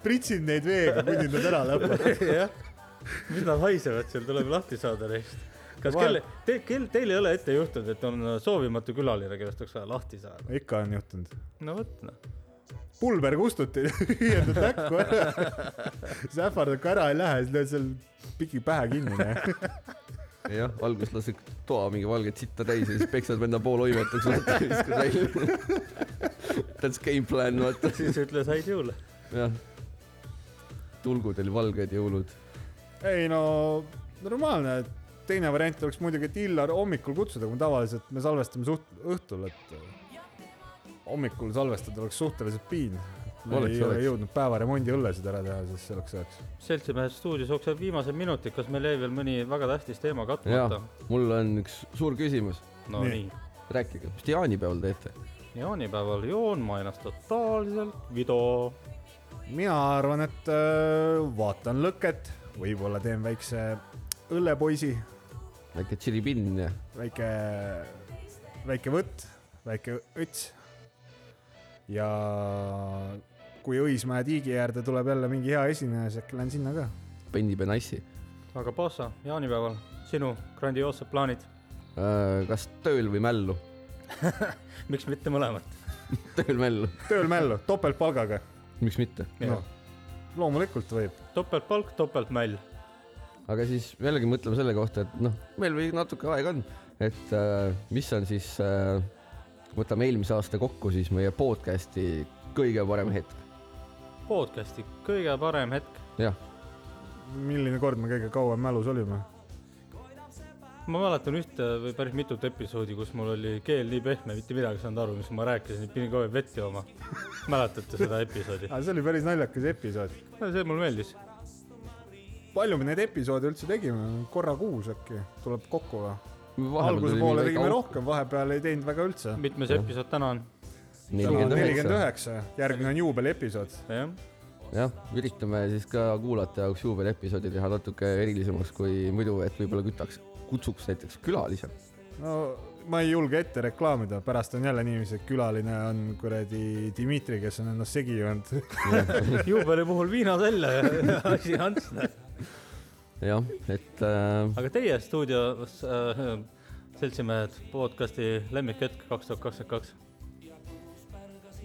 pritsid neid veega , kuni nad ära lõpevad . jah . mis nad haisevad seal , tuleb lahti saada neist . kas Vahel- kelle , te , kel , teil ei ole ette juhtunud , et on soovimatu külaline , kellest oleks vaja lahti saada ? ikka on juhtunud . no vot , noh . pulber kustuti , hüüdad näkku ära . siis ähvardad , kui ära ei lähe , siis lööd seal piki pähe kinni . noh. jah , alguses lased toa mingi valget sitta täis ja siis peksad venda pool oimetaks , vaata , viskad välja . That's game plan , vaata . siis ütles häid jõule . jah . tulgud oli valged jõulud . ei no normaalne , teine variant oleks muidugi , et Illar hommikul kutsuda , kui tavaliselt me salvestame suht- õhtul , et eh, hommikul salvestada oleks suhteliselt piin . me Oleks, oleks, ei ole oleks. jõudnud päevaremondi õllesid ära teha , siis selleks ajaks . seltsimehes stuudios jookseb viimased minutid , kas meil jäi veel mõni väga tähtis teema jah katmata ?, mul on üks suur küsimus . no Nii. nii, nii. . rääkige , mis te jaanipäeval teete ? jaanipäeval joon ma ennast totaalselt vido . mina arvan , et äh, vaatan lõket , võib-olla teen väikse õllepoisi , väike tširibinn ja väike , väike võtt , väike õts . ja kui Õismäe tiigi äärde tuleb jälle mingi hea esineja , siis äkki lähen sinna ka Benny Benassi . aga Pasa , jaanipäeval sinu grandioossed plaanid , Äh, kas tööl või mällu ? miks mitte mõlemat ? tööl mällu , tööl mällu , topeltpalgaga . miks mitte ? No, loomulikult võib . topeltpalk , topeltmäll . aga siis jällegi mõtleme selle kohta , et noh , meil veel natuke aega on , et äh, mis on siis äh, , võtame eelmise aasta kokku siis meie podcast'i kõige parem hetk . podcast'i kõige parem hetk . jah , milline kord me kõige kauem mälus olime ? ma mäletan ühte või päris mitut episoodi , kus mul oli keel nii pehme , mitte midagi ei saanud aru , mis ma rääkisin , pidin kogu aeg vett jooma . mäletate seda episoodi ? aga see oli päris naljakas episood . see mulle meeldis . palju me neid episoode üldse tegime ? korra kuus äkki tuleb kokku või ? Vahepeal alguse tuli poole mingi tegime väike rohkem , vahepeal ei teinud väga üldse . mitmes episood täna on ? nelikümmend nelikümmend üheksa . üheksa , järgmine on juubeliepisood . jah , jah , üritame siis ka kuulajate jaoks juubeliepisoodi teha natuke erilisemaks kui muidu , et võib-olla kütaks , kutsuks näiteks külalise . no ma ei julge ette reklaamida , pärast on jälle niiviisi , et külaline on kuradi Dmitri , kes on ennast segi joonud . juubeli puhul viinad välja ja asi on ants . jah , et äh, aga teie stuudios äh, seltsimehed , podcast'i lemmikhetk kaks tuhat kakskümmend kaks .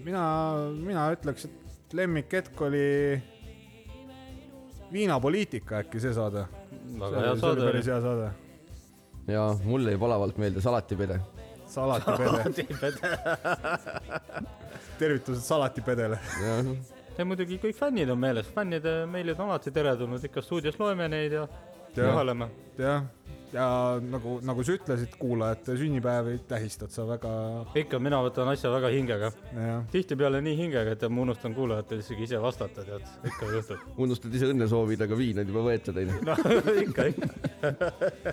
mina , mina ütleks , et lemmikhetk oli viinapoliitika äkki see saade . väga hea see oli saade päris hea saade . ja mulle jäi palavalt meelde salatipede . salatipede . oli . tervitused salatipedele . jah , ja muidugi kõik fännid on meeles , fännide meilid on alati teretulnud , ikka stuudios loeme neid ja Jah. suheleme . jah , ja nagu , nagu sa ütlesid , kuulajate sünnipäevi tähistad sa väga , ikka mina võtan asja väga hingega , jah . tihtipeale nii hingega , et ma unustan kuulajatele isegi ise vastata , tead , ikka juhtub . unustad ise õnnesoovid , aga viin on juba võetud , onju . no ikka , ikka .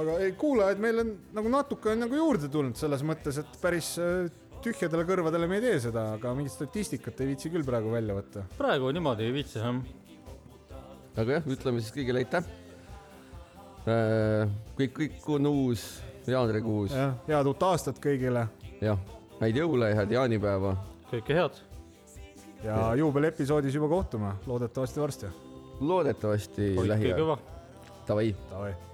aga ei , kuulajaid meil on nagu natuke on nagu juurde tulnud selles mõttes , et päris äh, tühjadele kõrvadele me ei tee seda , aga mingit statistikat ei viitsi küll praegu välja võtta . praegu niimoodi ei viitsi enam . aga jah , ütleme siis kõigile aitäh . kõik , kõik on uus , jaanuarikuus , jah , head uut aastat kõigile jah , häid jõule ja head jaanipäeva . kõike head . ja juubeliepisoodis juba kohtume , loodetavasti varsti . loodetavasti hoidke lähiajal . kõva . Davai . Davai .